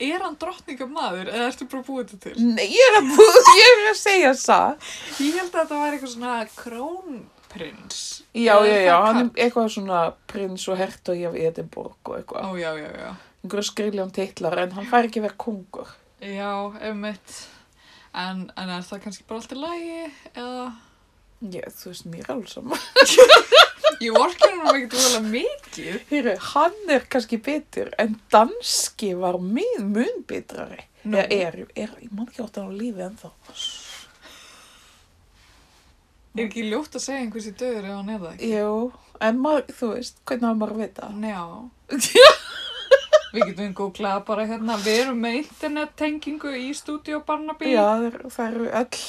S2: er hann drottningamaður eða ertu bara búið þetta til?
S1: Nei, ég er að, ég er að segja það.
S2: Ég held að þetta var eitthvað svona krónprins.
S1: Já,
S2: Eða
S1: já,
S2: er
S1: já,
S2: það
S1: hann er
S2: kall-
S1: eitthvað svona prins og hertogi af Edinborg og
S2: Ó,
S1: eitthvað.
S2: já, já, já.
S1: Einhverju skriljum titlar en hann fær ekki að vera kongur.
S2: Já, einmitt. En, en er það kannski bara allt í lagi eða...
S1: Já, þú veist, mér er alveg saman.
S2: Ég vorkir hann ekki dúlega mikið.
S1: Heyru, hann er kannski betur en danski var mjög mun betrari.
S2: Nú.
S1: Eða er, er, ég man ekki átt hann á lífi ennþá.
S2: Er ekki ljótt að segja einhversi döður ef hann er það ekki?
S1: Jú, en maður, þú veist, hvernig á maður að vita?
S2: Já. Við getum googlað bara hérna, við erum með internettengingu í stúdíu Barnaby.
S1: Já, það eru- það eru öll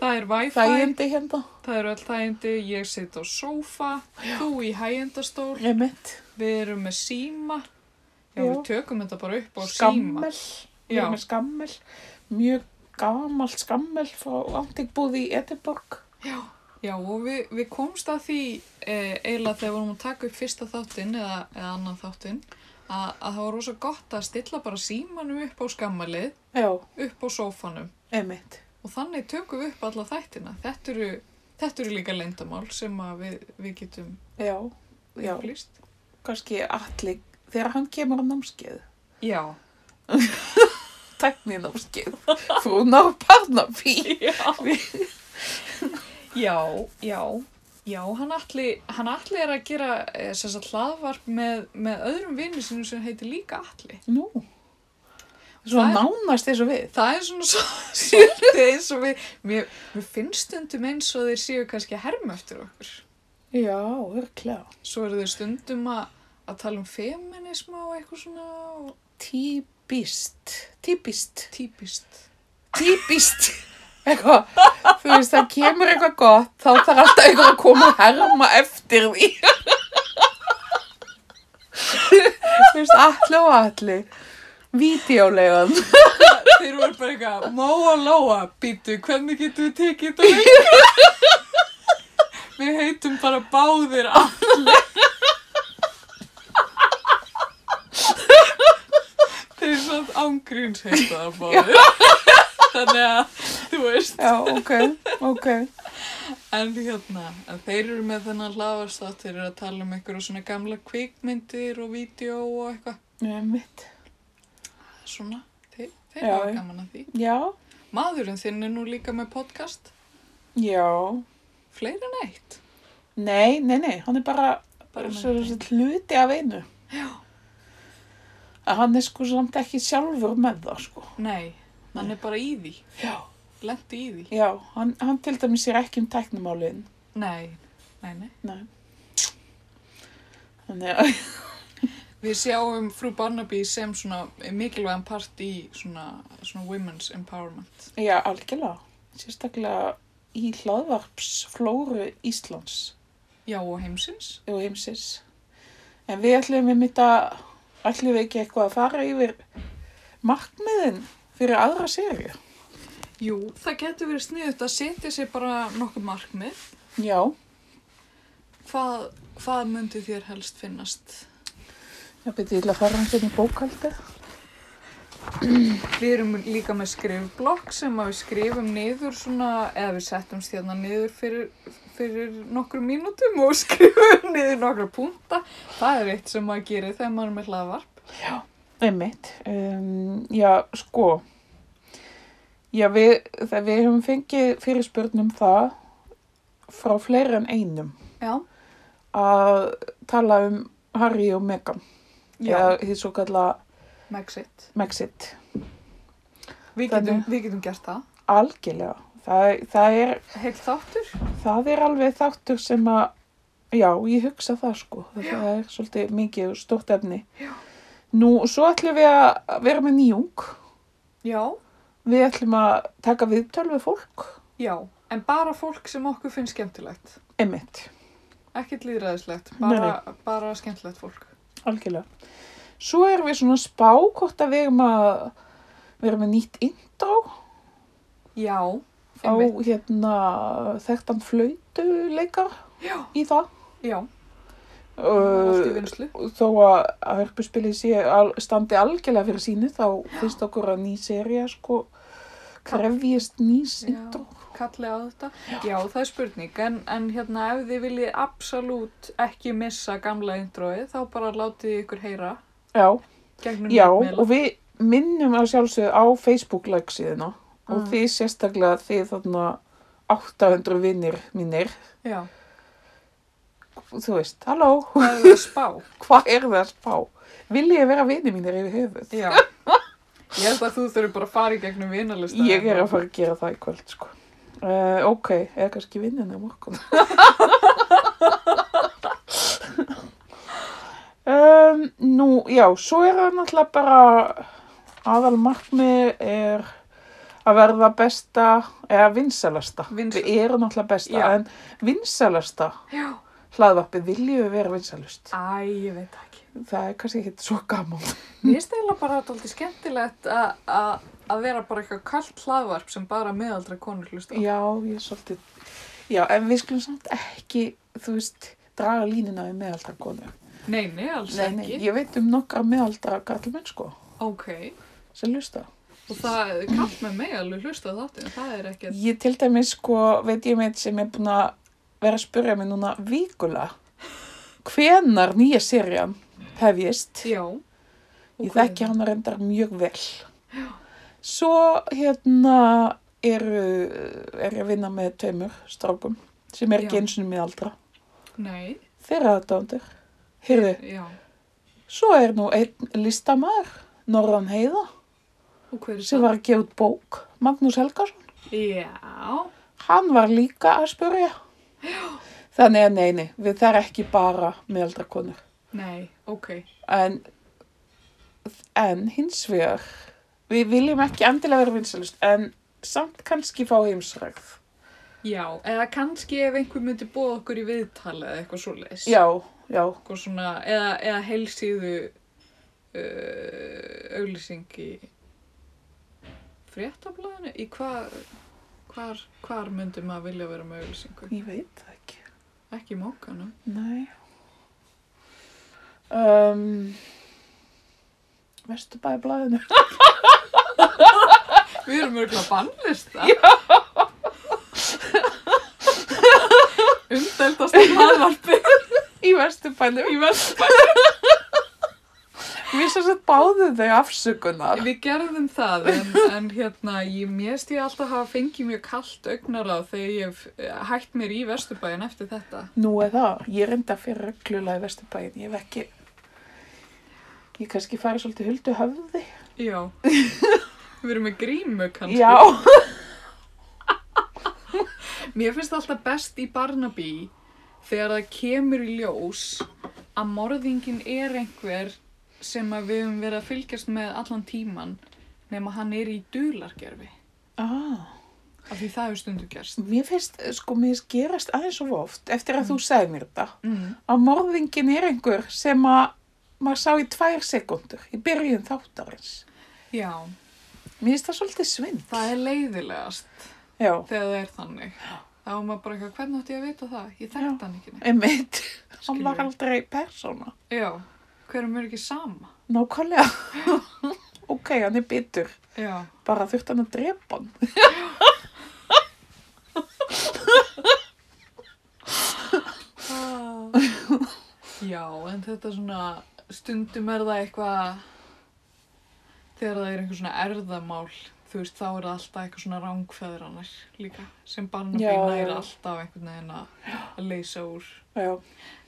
S2: Það er Wi-Fi.
S1: þægindi hérna.
S2: Það eru öll þægindi, ég sit á sófa, þú í hægindastól,
S1: Ég mitt.
S2: við erum með síma. Já,
S1: Já.
S2: við tökum þetta bara upp á síma.
S1: Skammel. Við
S2: Já.
S1: erum með skammel. Mjög gamalt skammel frá antikbúði í Edinborg.
S2: Já, og við, við komst að því e, eiginlega þegar við vorum að taka upp fyrsta þáttinn eða, eða annan þáttinn að, að það var rosa gott að stilla bara símanum upp á skammalið,
S1: Já,
S2: upp á sófanum
S1: einmitt.
S2: og þannig tökum við upp alla þættina. Þetta eru, þetta eru líka leyndamál sem að við, við getum
S1: Já, já,
S2: upplýst.
S1: kannski allir, þegar hann kemur á námskeið,
S2: Já.
S1: tækni námskeið, frúna og barnabí.
S2: Já. já, já, já, hann allir, hann allir er að gera eh, sem sagt hlaðvarp með, með öðrum vinnu sinum sem heitir líka allir.
S1: Nú, svo
S2: Það er-
S1: nánast þessu við.
S2: Það er svona svo, svolítið eins og við, mér, mér finnst stundum eins og þeir séu kannski að herma eftir okkur.
S1: Já, örglega.
S2: Svo eru þeir stundum að, að tala um feminisma og eitthvað svona og
S1: Típist, típist,
S2: típist.
S1: típist. Eitthvað, þú veist, það kemur eitthvað gott, þá þarf alltaf eitthvað að koma og herma eftir því. Þú veist, allu og allu. Vídeólegan.
S2: Þeir voru bara eitthvað, móa lóa, býtu, hvernig getum við tekið þetta lengur? við heitum bara báðir allir. Þeir samt ángríns heita það báðir. Þannig að, þú veist.
S1: Já, ok, ok.
S2: En hérna, en þeir eru með þennan hlaðarstátt, þeir eru að tala um einhverju svona gamla kvikmyndir og vídeo og eitthvað.
S1: Nei, mitt.
S2: Svona, þeir, þeir
S1: Já,
S2: eru
S1: já.
S2: gaman að því.
S1: Já,
S2: Maðurinn þinn er nú líka með podcast,
S1: já.
S2: fleiri en eitt.
S1: Nei, nei, nei, hann er bara,
S2: Bara með
S1: svo,
S2: þeim.
S1: svo, hluti af einu.
S2: Já.
S1: Að hann er sko samt ekki sjálfur með það, sko.
S2: Nei, hann er bara í því,
S1: Já.
S2: lendi í því.
S1: Já, hann, hann til dæmis er ekki um teknumálin.
S2: Nei, nei, nei.
S1: Nei. Þannig að,
S2: Við sjáum frú Barnaby sem svona mikilvægan part í svona, svona women's empowerment.
S1: já, algjörlega. Sérstaklega í hlaðvarpsflóru Íslands
S2: Já, og heimsins.
S1: og heimsins. En við ætlum við mitt að, ætlum við ekki eitthvað að fara yfir markmiðin fyrir aðra sériu.
S2: Jú, það getur verið sniðut að setja sér bara nokkuð markmið.
S1: Já.
S2: Hvað, hvað myndi þér helst finnast?
S1: Það byrði ég ætla að fara hans inn í bókaldið.
S2: Við erum líka með skrifblokk sem að við skrifum niður svona, eða við settum stjarnar niður fyrir, fyrir nokkru mínútum og skrifum niður nokkru púnta. Það er eitt sem maður gerir þegar maður er með hlaðvarp.
S1: Einmitt. Um, já, sko. Já, við, það, við höfum fengið fyrirspurnum það frá fleiri en einum
S2: Já.
S1: að tala um Harry og Meghan.
S2: Já,
S1: Eða því svo kalla
S2: Megxit.
S1: Megxit.
S2: Við
S1: Þannig-
S2: getum, við getum gert það.
S1: Algjörlega. Það, það, er,
S2: Heill þáttur.
S1: það er alveg þáttur sem að, já, ég hugsa það sko. Það,
S2: Já.
S1: er svolítið mikið og stórt efni.
S2: Já.
S1: Nú, svo ætlum við að vera með nýjung.
S2: Já.
S1: Við ætlum að taka viðtöl við fólk,
S2: Já, en bara fólk sem okkur finnst skemmtilegt.
S1: einmitt,
S2: Ekkert líðræðislegt,
S1: Nei,
S2: bara, bara skemmtilegt fólk.
S1: algjörlega. Svo erum við svona að spá hvort að við erum að vera með nýtt intro
S2: Já,
S1: á hérna þekktan flautuleikar
S2: Já,
S1: í það.
S2: já, allt í
S1: Uh,
S2: vinslu.
S1: þó að, að hörpuspilið sé al, standi algjörlega fyrir sínu þá finnst okkur að ný serja sko krefjist nýs
S2: Já.
S1: intro.
S2: kalli á þetta. Já, það er spurning, en, en hérna ef þið viljið absolút ekki missa gamla introið, þá bara látið þið ykkur heyra
S1: Já,
S2: gegnum
S1: Já,
S2: netmiðla.
S1: og við minnum að sjálfsögðu á Facebook-læk síðuna og
S2: Mm.
S1: þið sérstaklega þið þarna 800 vinnir mínir,
S2: Já,
S1: þú veist, halló,
S2: það er það spá.
S1: hvað er það að spá? Vilja ég vera vinnir mínir yfir höfuð?
S2: Já. Ég held að þú þurfur bara að fara í gegnum hérna. vinalista.
S1: Ég er að fara að gera það í kvöld, sko. Uh, ok, eða kannski vinnin á morgun. um, nú, já, svo er það náttúrulega bara aðal markmið er að verða besta eða vinsalasta.
S2: Vinsæl-
S1: Við erum náttúrulega besta,
S2: Já.
S1: en vinsalasta
S2: Já.
S1: hlaðvarpið viljum við vera vinsalust.
S2: Æ, ég veit það ekki.
S1: Það er kannski ekki svo gaman.
S2: Mér finnst eiginlega bara alltaf skemmtilegt að- sko. að að vera bara eitthvað kallt hlaðvarp sem bara meðaldra konur hlusta. á.
S1: Já, ég er svolítið, Já, en við skulum samt ekki, þú veist, draga línina í meðaldra konu.
S2: Nei, nei, alls
S1: Nei, nei,
S2: ekki.
S1: ég veit um nokkar meðaldra kallmenn, sko,
S2: Ok,
S1: sem hlusta.
S2: og það kall með mig alveg hlusta á þáttinu, það er ekkert.
S1: Ég til dæmis, sko, veit ég meitt sem er búin að vera að spurja mig núna vikula. Hvenar nýja serían hefjist?
S2: Já. Og
S1: Ég
S2: hvað er
S1: þekki
S2: það?
S1: hana reyndar mjög vel. Svo hérna eru, er ég að vinna með tveimur strákum sem er
S2: Já.
S1: ekki eins og mjög aldra.
S2: Nei,
S1: Þeirra aðdándir. Heyrðu,
S2: já.
S1: svo er nú einn listamaður, Norðan Heiða,
S2: Og hver er
S1: sem
S2: það?
S1: var að gefa út bók, Magnús Helgarsson.
S2: Já,
S1: Hann var líka að spurja. Þannig að neini, við það er ekki bara meðaldra konur.
S2: nei, ok.
S1: En, en hins vegar, við viljum ekki endilega vera vinsalust, en samt kannski fá heimsrægð.
S2: Já, eða kannski ef einhver myndi bóða okkur í viðtal eða eitthvað svoleiðis.
S1: Já, já,
S2: Eitthvað svona, eða, eða heilsíðu uh, auglýsing í fréttablaðinu? Í hvað, hvar, hvar myndi maður vilja vera með auglýsingu?
S1: ég veit það ekki.
S2: Ekki í mókanum.
S1: Nei. Um, Vestu bæði blæðinu.
S2: Við erum örgulega bannlista. Umdeltast að hlaðvarpi.
S1: Í vesturbænum. Í vesturbænum. Við sem sagt báðum þau afsökunar.
S2: Við gerðum það, en, en hérna, ég mérst ég alltaf hafa fengið mjög kallt augnar á þegar ég hef eh, hætt mér í Vesturbæin eftir þetta.
S1: Nú er það, ég reynda fyrir reglulega í vesturbæn. Ég hef ekki, ég kannski farið svolítið huldu höfði.
S2: Já. Við erum með grímu kannski.
S1: Já.
S2: Mér finnst alltaf best í Barnaby þegar það kemur í ljós að morðingin er einhver sem að við höfum verið að fylgjast með allan tíman nema hann er í dulargerfi.
S1: Ah,
S2: Af því það hefur stundu gerst.
S1: mér finnst, sko, mér finnst gerast aðeins og oft eftir að þú segði mér þetta.
S2: Mm.
S1: Að morðingin er einhver sem að maður sá í tvær sekundur í byrjun þáttarins.
S2: Já,
S1: Mér finnst það svolítið svind.
S2: það er leiðilegast.
S1: Já,
S2: þegar það er þannig þá er maður bara eitthvað, hvernig átti ég að vita það? Ég
S1: Já.
S2: þekkti hann ekki neitt.
S1: einmitt. Hann var
S2: Skilurðu.
S1: aldrei persóna.
S2: Já, hverjum er ekki sama?
S1: Nákvæmlega. ok, hann er bitur.
S2: Já,
S1: Bara þurft hann að drepa hann.
S2: já, en þetta svona stundum er það eitthvað þegar það er einhver svona erðamál þú veist, þá er það alltaf eitthvað svona rángfæðranar líka sem
S1: Já,
S2: barnabína er
S1: já.
S2: alltaf einhvern veginn að að leysa úr
S1: Já,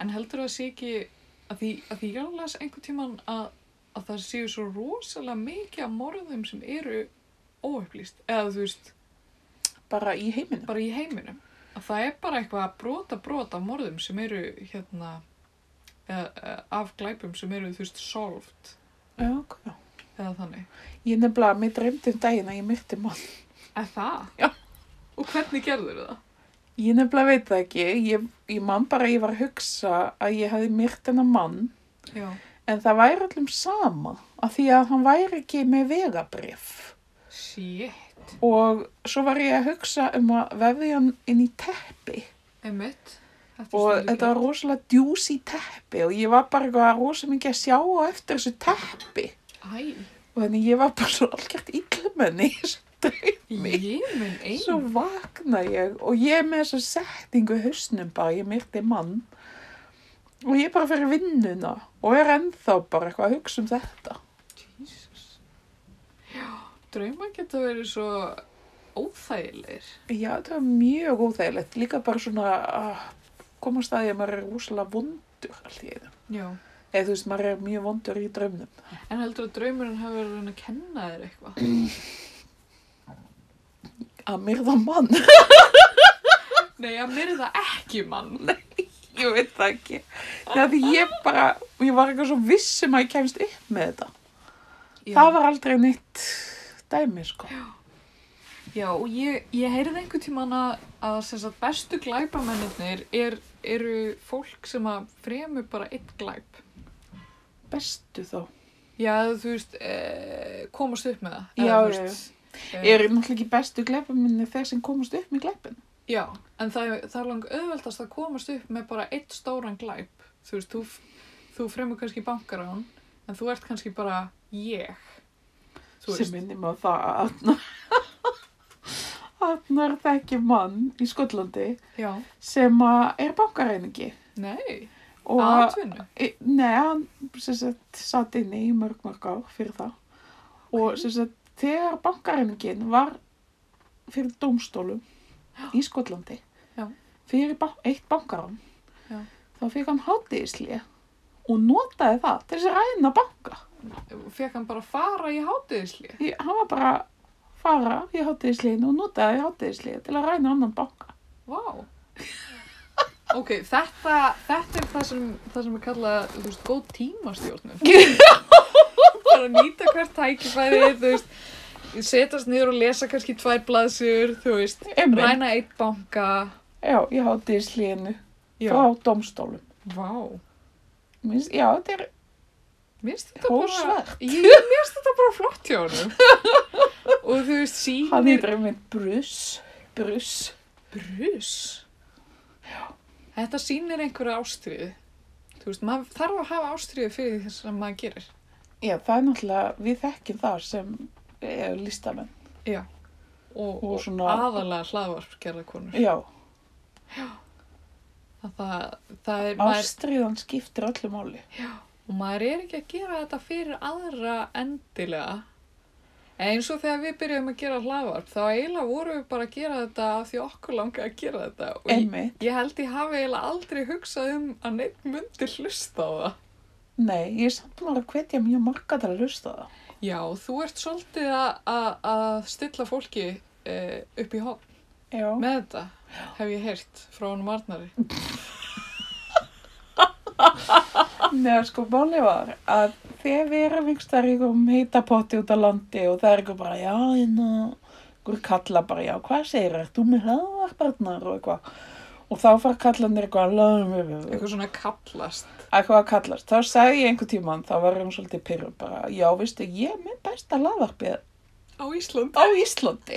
S2: en heldur það sé ekki að því, að því ég alveg einhvern tíman að, að það séu svo rosalega mikið af morðum sem eru óupplýst eða þú veist,
S1: bara í heiminum.
S2: bara í heiminum að það er bara eitthvað að brota brota af morðum sem eru hérna eða, eða, af glæpum sem eru þú veist solved
S1: Já, ok.
S2: eða þannig
S1: Ég nefnilega, mér dreymdi um daginn að ég myrti mann.
S2: eða það?
S1: Já.
S2: og hvernig gerður það?
S1: Ég nefnilega veit það ekki. Ég, ég man bara að ég var að hugsa að ég hefði myrt hennar mann.
S2: Já.
S1: En það væri allum sama. Af því að hann væri ekki með vegabrif.
S2: shit
S1: Og svo var ég að hugsa um að vefði hann inn í teppi.
S2: emitt
S1: og þetta var rosalega djúsi teppi og ég var bara eitthvað rosalega mikið að sjá á eftir þessu teppi
S2: æ,
S1: og þannig ég var bara svo algjört illmenni í þessu draumi.
S2: ég minn ein
S1: Svo vakna ég og ég er með þessu setningu í hausnum bara, ég myrti mann og ég er bara fyrir vinnuna og er ennþá bara eitthvað að hugsa um þetta.
S2: Jesus. já, drauma geta verið svo óþægilegir
S1: Já, þetta var mjög óþægilegt, líka bara svona að koma að staði að maður er rosalega vondur allt í einu.
S2: já
S1: Eða þú veist, maður er mjög vondur í draumnum.
S2: en heldur að draumurinn hafi verið að reyna að kenna þér eitthvað
S1: Að myrða mann.
S2: nei, að myrða ekki mann
S1: Ég veit það ekki. Það því ég bara, ég var eitthvað svo viss um að ég kemst upp með þetta.
S2: Já.
S1: Það var aldrei nýtt dæmi, sko.
S2: Já, og ég, ég heyrði einhvern tíman að, að sem sagt, bestu glæpamennir er, eru fólk sem að fremur bara einn glæp.
S1: Bestu þá.
S2: Já, eða þú veist, eh, komast upp með það.
S1: Já,
S2: eða, þú
S1: já,
S2: veist, eh,
S1: Eru náttúrulega ekki bestu gleipaminni þeir sem komast upp með gleipin?
S2: já. Já, en það, það er lang auðveldast að komast upp með bara eitt stóran glæp. Þú veist, þú, f- þú fremur kannski bankarán, en þú ert kannski bara ég. Þú
S1: sem
S2: veist,
S1: minnir mig á það að Arnar- Arnar þekki mann í Skotlandi
S2: já,
S1: sem að er bankareiningi
S2: nei,
S1: og
S2: aðtvinnu.
S1: Í- Nei, hann sem sagt satt inni í mörg mörg ár fyrir það og sem sagt þegar bankareiningin var fyrir dómstólum í Skotlandi
S2: Já.
S1: fyrir ba eitt bankarann
S2: Já.
S1: þá fyrir hann hátíðisli og notaði það til þess að ræna banka
S2: Fekk hann bara fara í hátiðisli.
S1: því hann var bara að fara í hátíðisliðinu og notaði hátíðisliði til að ræna annan banka
S2: Vá. Ok, þetta, þetta er það sem, það sem er kallað, þú veist, góð tímastjórnum. bara nýta hvert tækifæri, þú veist, setast niður og lesa kannski tvær blaðsjur, þú veist,
S1: Einmitt.
S2: ræna eitt banka.
S1: Já, í hátíðisliðinu
S2: Já.
S1: frá dómstólum
S2: Vá.
S1: Mér finnst- Já, þetta er
S2: Mér finnst þetta bara,
S1: Hrósvert.
S2: ég, mér finnst þetta bara flott hjá honum. og þú veist,
S1: hann
S2: sýnir
S1: heitir einmitt Bruce Bruce
S2: brus. Þetta sýnir einhverja ástriðu. Þú veist, maður þarf að hafa ástriðu fyrir því sem maður gerir.
S1: Já, það er náttúrulega, við þekkjum það sem er listamenn.
S2: og,
S1: Og
S2: og
S1: svona-
S2: aðalega hlaðvarpgerðarkonur.
S1: Já,
S2: Það, það, það er, maður,
S1: ástriðan skiptir öllu máli.
S2: og maður er ekki að gera þetta fyrir aðra endilega. En eins og þegar við byrjum að gera hlaðvarp, þá eiginlega vorum við bara að gera þetta af því okkur langaði að gera þetta. Og ég,
S1: Einmitt,
S2: ég held ég hafi eiginlega aldrei hugsað um að neitt myndi hlusta á það.
S1: nei, ég er samt búin að hvetja mjög marga til að hlusta á það.
S2: Já, þú ert svolítið að- að að stilla fólki eh, upp í hótt.
S1: Já,
S2: Með þetta hef ég heyrt frá honum Arnari.
S1: neða sko máli var að þegar við erum yngst þar einhverjum heitapotti út á landi og það er einhver bara, já, hérna, einhver kalla bara, já, hvað segir það, þú með hlaðvarparnar og eitthvað. Og þá fara kallanir eitthvað, lögum,
S2: Eitthvað svona kallast.
S1: að hvað kallast, þá sagði ég einhver tíman, þá var hann svolítið pyrrum bara, já, veistu, ég er með besta hlaðvarpið
S2: Á Íslandi.
S1: á Íslandi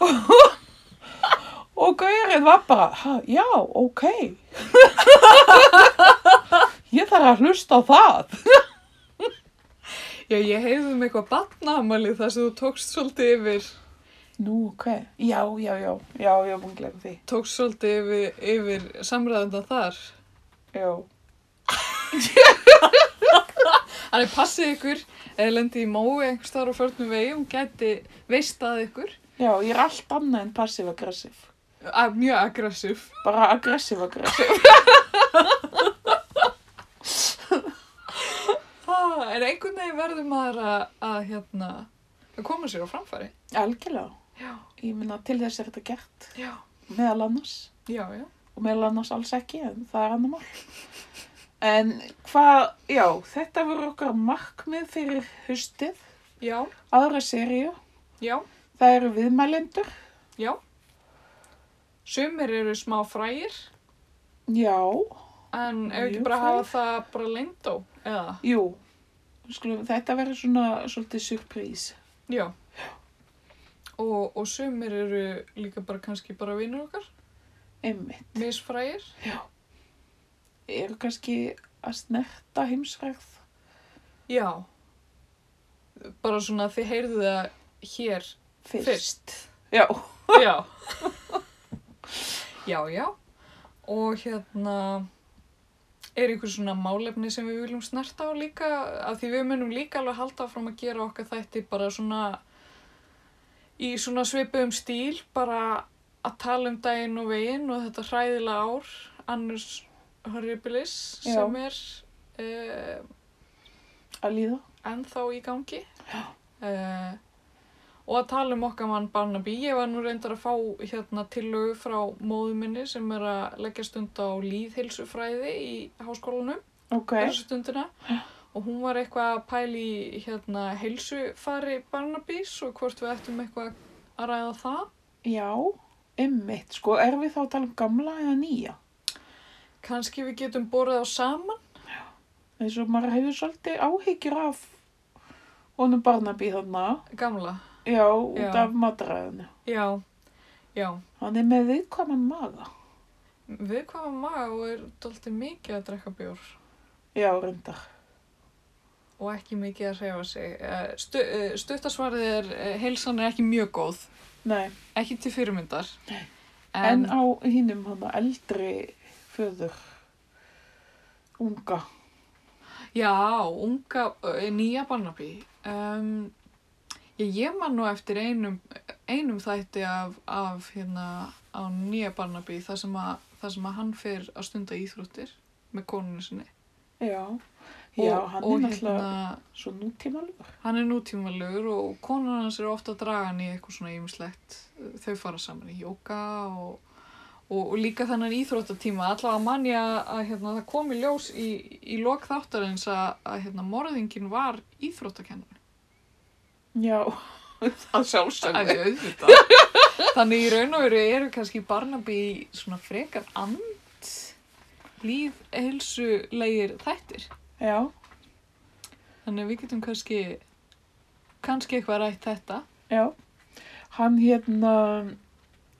S1: og gaurinn var bara "Ha, já, ok ég þarf að hlusta á það
S2: Já, ég heyrði um eitthvað batnaamali þar sem þú tókst svolítið yfir,
S1: nú, ok, já, já, já já, já, búin að glemma því
S2: tókst svolítið yfir, yfir samræðanda þar.
S1: já,
S2: Þannig passið ykkur, eða lendi í mói einhvers þar á förnum vegum, gæti veistað ykkur.
S1: já, ég er allt annað en passiv-aggressiv
S2: Að, mjög aggressív.
S1: bara aggressiv-aggressiv
S2: Ah, en einhvern veginn verður maður að, að, hérna, að koma sér á framfæri.
S1: algjörlega,
S2: Já.
S1: ég meina til þess er þetta gert
S2: Já.
S1: meðal annars
S2: Já, já.
S1: og meðal annars alls ekki, en það er annar mál. En hvað, já, þetta voru okkar markmið fyrir haustið,
S2: Já,
S1: aðra seríu.
S2: já,
S1: Það eru viðmælendur,
S2: já. Sumir eru smá frægir,
S1: já,
S2: en ef ekki
S1: Mjög
S2: bara hafa það bara lindó, eða?
S1: jú, skulum, þetta verður svona svolítið surprís.
S2: Já. Og, og sumir eru líka bara kannski bara vinnur okkar,
S1: Einmitt,
S2: misfrægir.
S1: eru kannski að snerta heimsræð.
S2: Já. Bara svona þið heyrðu það hér
S1: Fyrst.
S2: fyrst.
S1: Já,
S2: Já. já, já. Og hérna, er einhver svona málefni sem við viljum snerta á líka? Af því við munum líka alveg halda áfram að gera okkar þætti bara svona í svona svipuðum stíl, bara að tala um daginn og veginn og þetta hræðilega ár, annars horribilis
S1: Já.
S2: sem er... Uh,
S1: að líða.
S2: ennþá í gangi uh, og að tala um okkar mann Barnaby ég var nú reyndar að fá hérna tillögu frá móðu minni sem er að leggja stund á líðheilsufræði í háskólanum
S1: Ok,
S2: þessu stundina og hún var eitthvað að pæli hérna heilsufari Barnabys og hvort við ættum eitthvað að ræða það
S1: já, einmitt, sko, erum við þá að tala um gamla eða nýja?
S2: kannski við getum borðið á saman
S1: Eins og maður hefur svolítið áhyggjur af honum Barnaby þarna.
S2: gamla
S1: Já, út
S2: Já.
S1: af matræðinu.
S2: Já, já.
S1: Hann er með viðkvæman maga.
S2: Við komum maga og er dóltið mikið að drekka bjór
S1: Já, reyndar.
S2: og ekki mikið að hreyfa sig. Eh, Stu, eh, Stuttasvarið er, eh, heilsan er ekki mjög góð,
S1: Nei,
S2: ekki til fyrirmyndar.
S1: en,
S2: En,
S1: á hinnum hann eldri föður, unga.
S2: já, unga, eh, nýja Barnaby. Um, ég, ég man nú eftir einum, einum þætti af, af hérna á nýja Barnaby þar sem, að, þar sem að hann fer að stunda íþróttir með konunni sinni.
S1: Já, já, hann
S2: og
S1: er náttúrulega
S2: hérna,
S1: svo nútímalugur.
S2: Hann er nútímalegur og konan hans er ofta að draga hann í eitthvað svona ýmislegt. Þau fara saman í jóka og, og, og líka þannig íþróttatíma. Allavega mann ég að, að hérna, það kom í ljós í, í lok þáttarins að, að hérna, morðingin var íþróttakennan.
S1: Já, það
S2: Það
S1: sjálfsögðu.
S2: er auðvitað. þannig í raun og veru eru kannski Barnaby svona frekar and líðheilsulegir þættir.
S1: Já,
S2: Þannig að við getum kannski, kannski eitthvað rætt þetta.
S1: já. Hann hérna,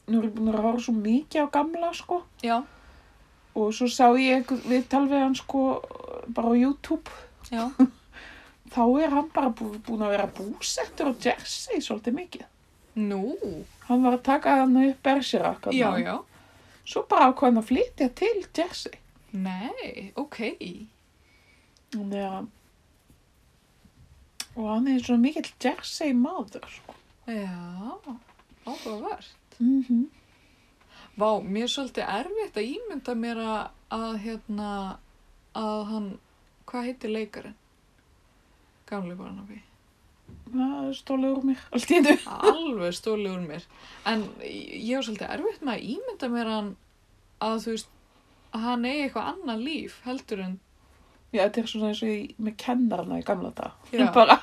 S1: nú er ég búin að ráða svo mikið á gamla, sko.
S2: Já,
S1: Og svo sá ég einhver viðtal við hann, sko, bara á YouTube.
S2: já.
S1: Þá er hann bara bú, búin að vera búsettur á Jersey svolítið mikið.
S2: Nú,
S1: Hann var að taka hann upp Bergerak. þarna.
S2: já, já.
S1: Svo bara ákvað hann að flytja til Jersey.
S2: Nei, ok.
S1: Þannig að, og hann er svo mikill Jersey maður, sko.
S2: Já, áhugavert.
S1: Mm
S2: Mhm.
S1: -hmm.
S2: Vá, mér er svolítið erfitt að ímynda mér að, að hérna, að hann, hvað heitir leikarinn? Gamli Barnaby.
S1: Það stóla úr mér allt í hennu.
S2: Alveg stólið úr mér. En ég er svolítið erfitt með að ímynda mér hann að þú veist, að hann eigi eitthvað annað líf heldur en,
S1: Já, þetta er svona eins og ég með kennarna í gamla dag.
S2: Já.
S1: Bara,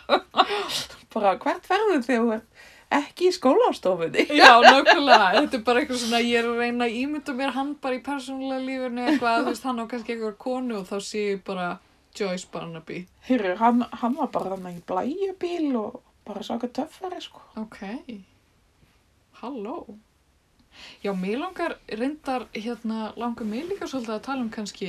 S1: bara hvert verður þegar þú ert ekki í skólastofunni?
S2: Já, nákvæmlega, þetta er bara eitthvað svona, ég er að reyna að ímynda mér hann bara í persónulega lífinu eitthvað, þú veist, hann á kannski eitthvað konu og þá sé ég bara Joyce Barnaby.
S1: Heyrðu, hann, hann var bara þannig í blæjubíl og bara saka töffari, sko.
S2: Ok, halló. Já, mér langar, reyndar, hérna, langar mér líka svolítið að tala um kannski,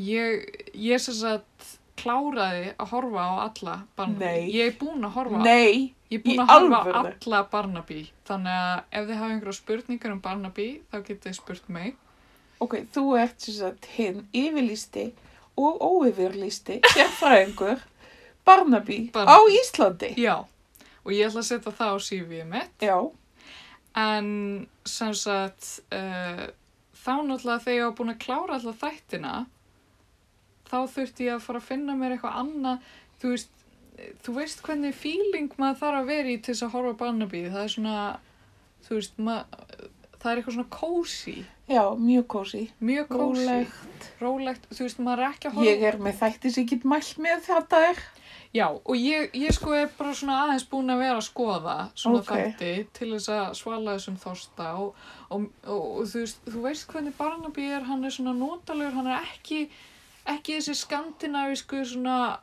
S2: ég, ég sem sagt kláraði að horfa á alla Barnaby.
S1: Nei.
S2: Ég er búin að horfa á
S1: Nei,
S2: Ég er búin
S1: Í
S2: að horfa á
S1: alvörunni?
S2: alla Barnaby, þannig að ef þið hafa einhverja spurningar um Barnaby, þá getið þið spurt mig.
S1: ok, þú ert sem sagt hinn yfirlýsti og óyfirlýsti, sérfræðingur, Barnaby,
S2: Barnaby.
S1: á Íslandi.
S2: Já, og ég ætla að setja það á CV-ið mitt.
S1: Já,
S2: En sem sagt, uh, þá náttúrulega þegar ég var búin að klára alla þættina, þá þurfti ég að fara að finna mér eitthvað annað. Þú veist, eh, þú veist hvernig feeling maður þarf að vera í til þess að horfa á Barnaby. Það er svona, þú veist, mað, það er eitthvað svona kósi,
S1: já, mjög kósi.
S2: mjög kósi,
S1: Róleg.
S2: rólegt. Þú veist, maður er ekki að horfa.
S1: Ég er með þætti sem ég get mælt með þetta er.
S2: Já, og ég, ég sko er bara svona aðeins búin að vera að skoða svona
S1: Ok.
S2: þætti til þess að svala þessum þorsta og, og, og, og þú, veist, þú veist hvernig Barnaby er, hann er svona notalegur, hann er ekki, ekki þessi skandinavísku svona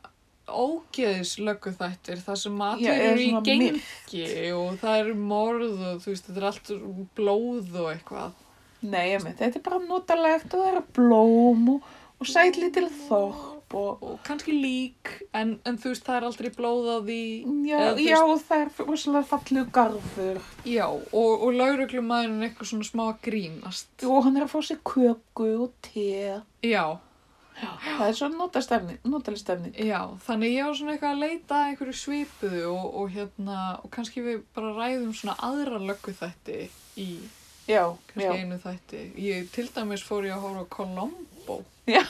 S2: ógeðislöggu þættir, það sem
S1: Já,
S2: matur
S1: er
S2: eru í
S1: svona
S2: gengi og það eru morð og þú veist, þetta er allt úr blóð og eitthvað.
S1: Nei, ég með þetta er bara notalegt og það eru blóm og, og sæt lítil þorp og
S2: Og kannski lík, en, en þú veist, það er aldrei blóð á því.
S1: já,
S2: Eða þú
S1: já það er rosalega fallegu garður
S2: Já, og, og lauruglumæðurinn er eitthvað svona smá að grínast.
S1: og hann er að fá sér köku og te.
S2: Já,
S1: Það er svo notastemning, notaleg stemning.
S2: já, þannig ég var svona eitthvað að leita að einhverju svipuðu og, og hérna, og kannski við bara ræðum svona aðra löggu þætti í,
S1: Já,
S2: kannski
S1: já.
S2: einu þætti. Ég, til dæmis fór ég að horfa á Colombo.
S1: Já.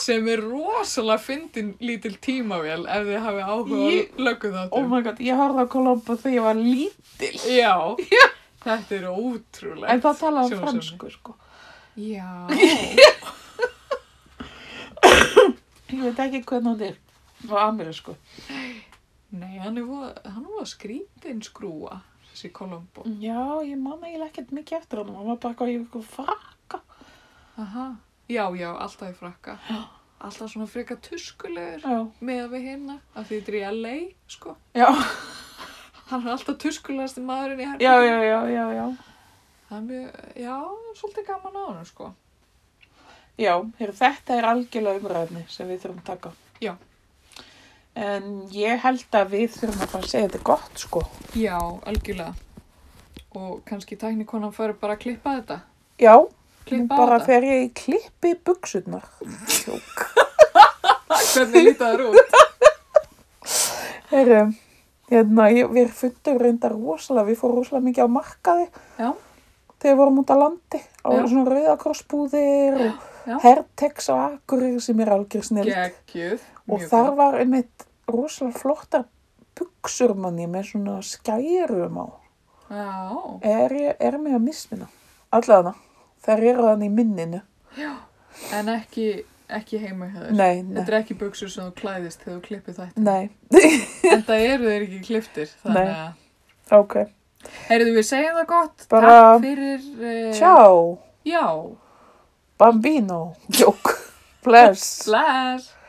S2: sem er rosalega fyndin lítil tímavél ef þið hafið áhuga á
S1: Ég-
S2: löggu
S1: Oh
S2: þáttum.
S1: my god, ég horfði á Colombo þegar ég var lítil.
S2: já, þetta er ótrúlegt.
S1: En það talaði
S2: Sjónvarpsefni.
S1: hann fransku, sko.
S2: Já,
S1: Ég veit ekki hvernig hann er. Og amerísku.
S2: nei, hann er voða, hann er voða skrítin skrúa, þessi Colombo.
S1: Já, ég man eiginlega ekkert mikið eftir hann. Hann var bara eitthvað í eitthvað frakka.
S2: Aha. Já, já, alltaf í frakka. Alltaf svona freka tuskulegur
S1: Já,
S2: með við hérna, af því þetta er í LA, sko.
S1: já,
S2: Hann er alltaf tuskulegasti maðurinn í herfum.
S1: já, já, já, já, já.
S2: Það er mjög, já, svolítið gaman á hann, sko.
S1: Já, heyrðu, þetta er algjörlega umræðni sem við þurfum að taka.
S2: Já.
S1: En ég held að við þurfum að bara segja þetta er gott, sko.
S2: Já, algjörlega. Og kannski tæknikonan fyrir bara að klippa þetta.
S1: Já,
S2: Klippa
S1: bara
S2: þetta.
S1: þegar ég klippi buksurnar. Jók.
S2: Hvernig lítið það er út?
S1: Heyrðu, hérna, ég, við fundum reyndar rosalega, við fórum rosalega mikið á markaði
S2: Já,
S1: þegar við vorum út á landi á
S2: Já.
S1: svona rauðakrossbúðir
S2: Já.
S1: og hertex á akkurir sem er algjör snill.
S2: geggjuð.
S1: og
S2: Mjög
S1: þar
S2: gott.
S1: var einmitt rosalega flottar buksur manni með svona skærum á.
S2: Já,
S1: Er, ég, er mig að mismina? Allavega, þær eru þannig í minninu.
S2: en ekki, ekki heima hjá þér.
S1: Nei, nei,
S2: Þetta er ekki buksur sem þú klæðist þegar þú klippir þetta.
S1: nei,
S2: En það eru þeir ekki kliftir. Þannig
S1: Nei.
S2: að,
S1: ok.
S2: Eh. heyrðu við segjum það gott.
S1: Bara-
S2: Takk fyrir... Eh,
S1: Ciao,
S2: Já,
S1: bambino, jók, bless.
S2: bless.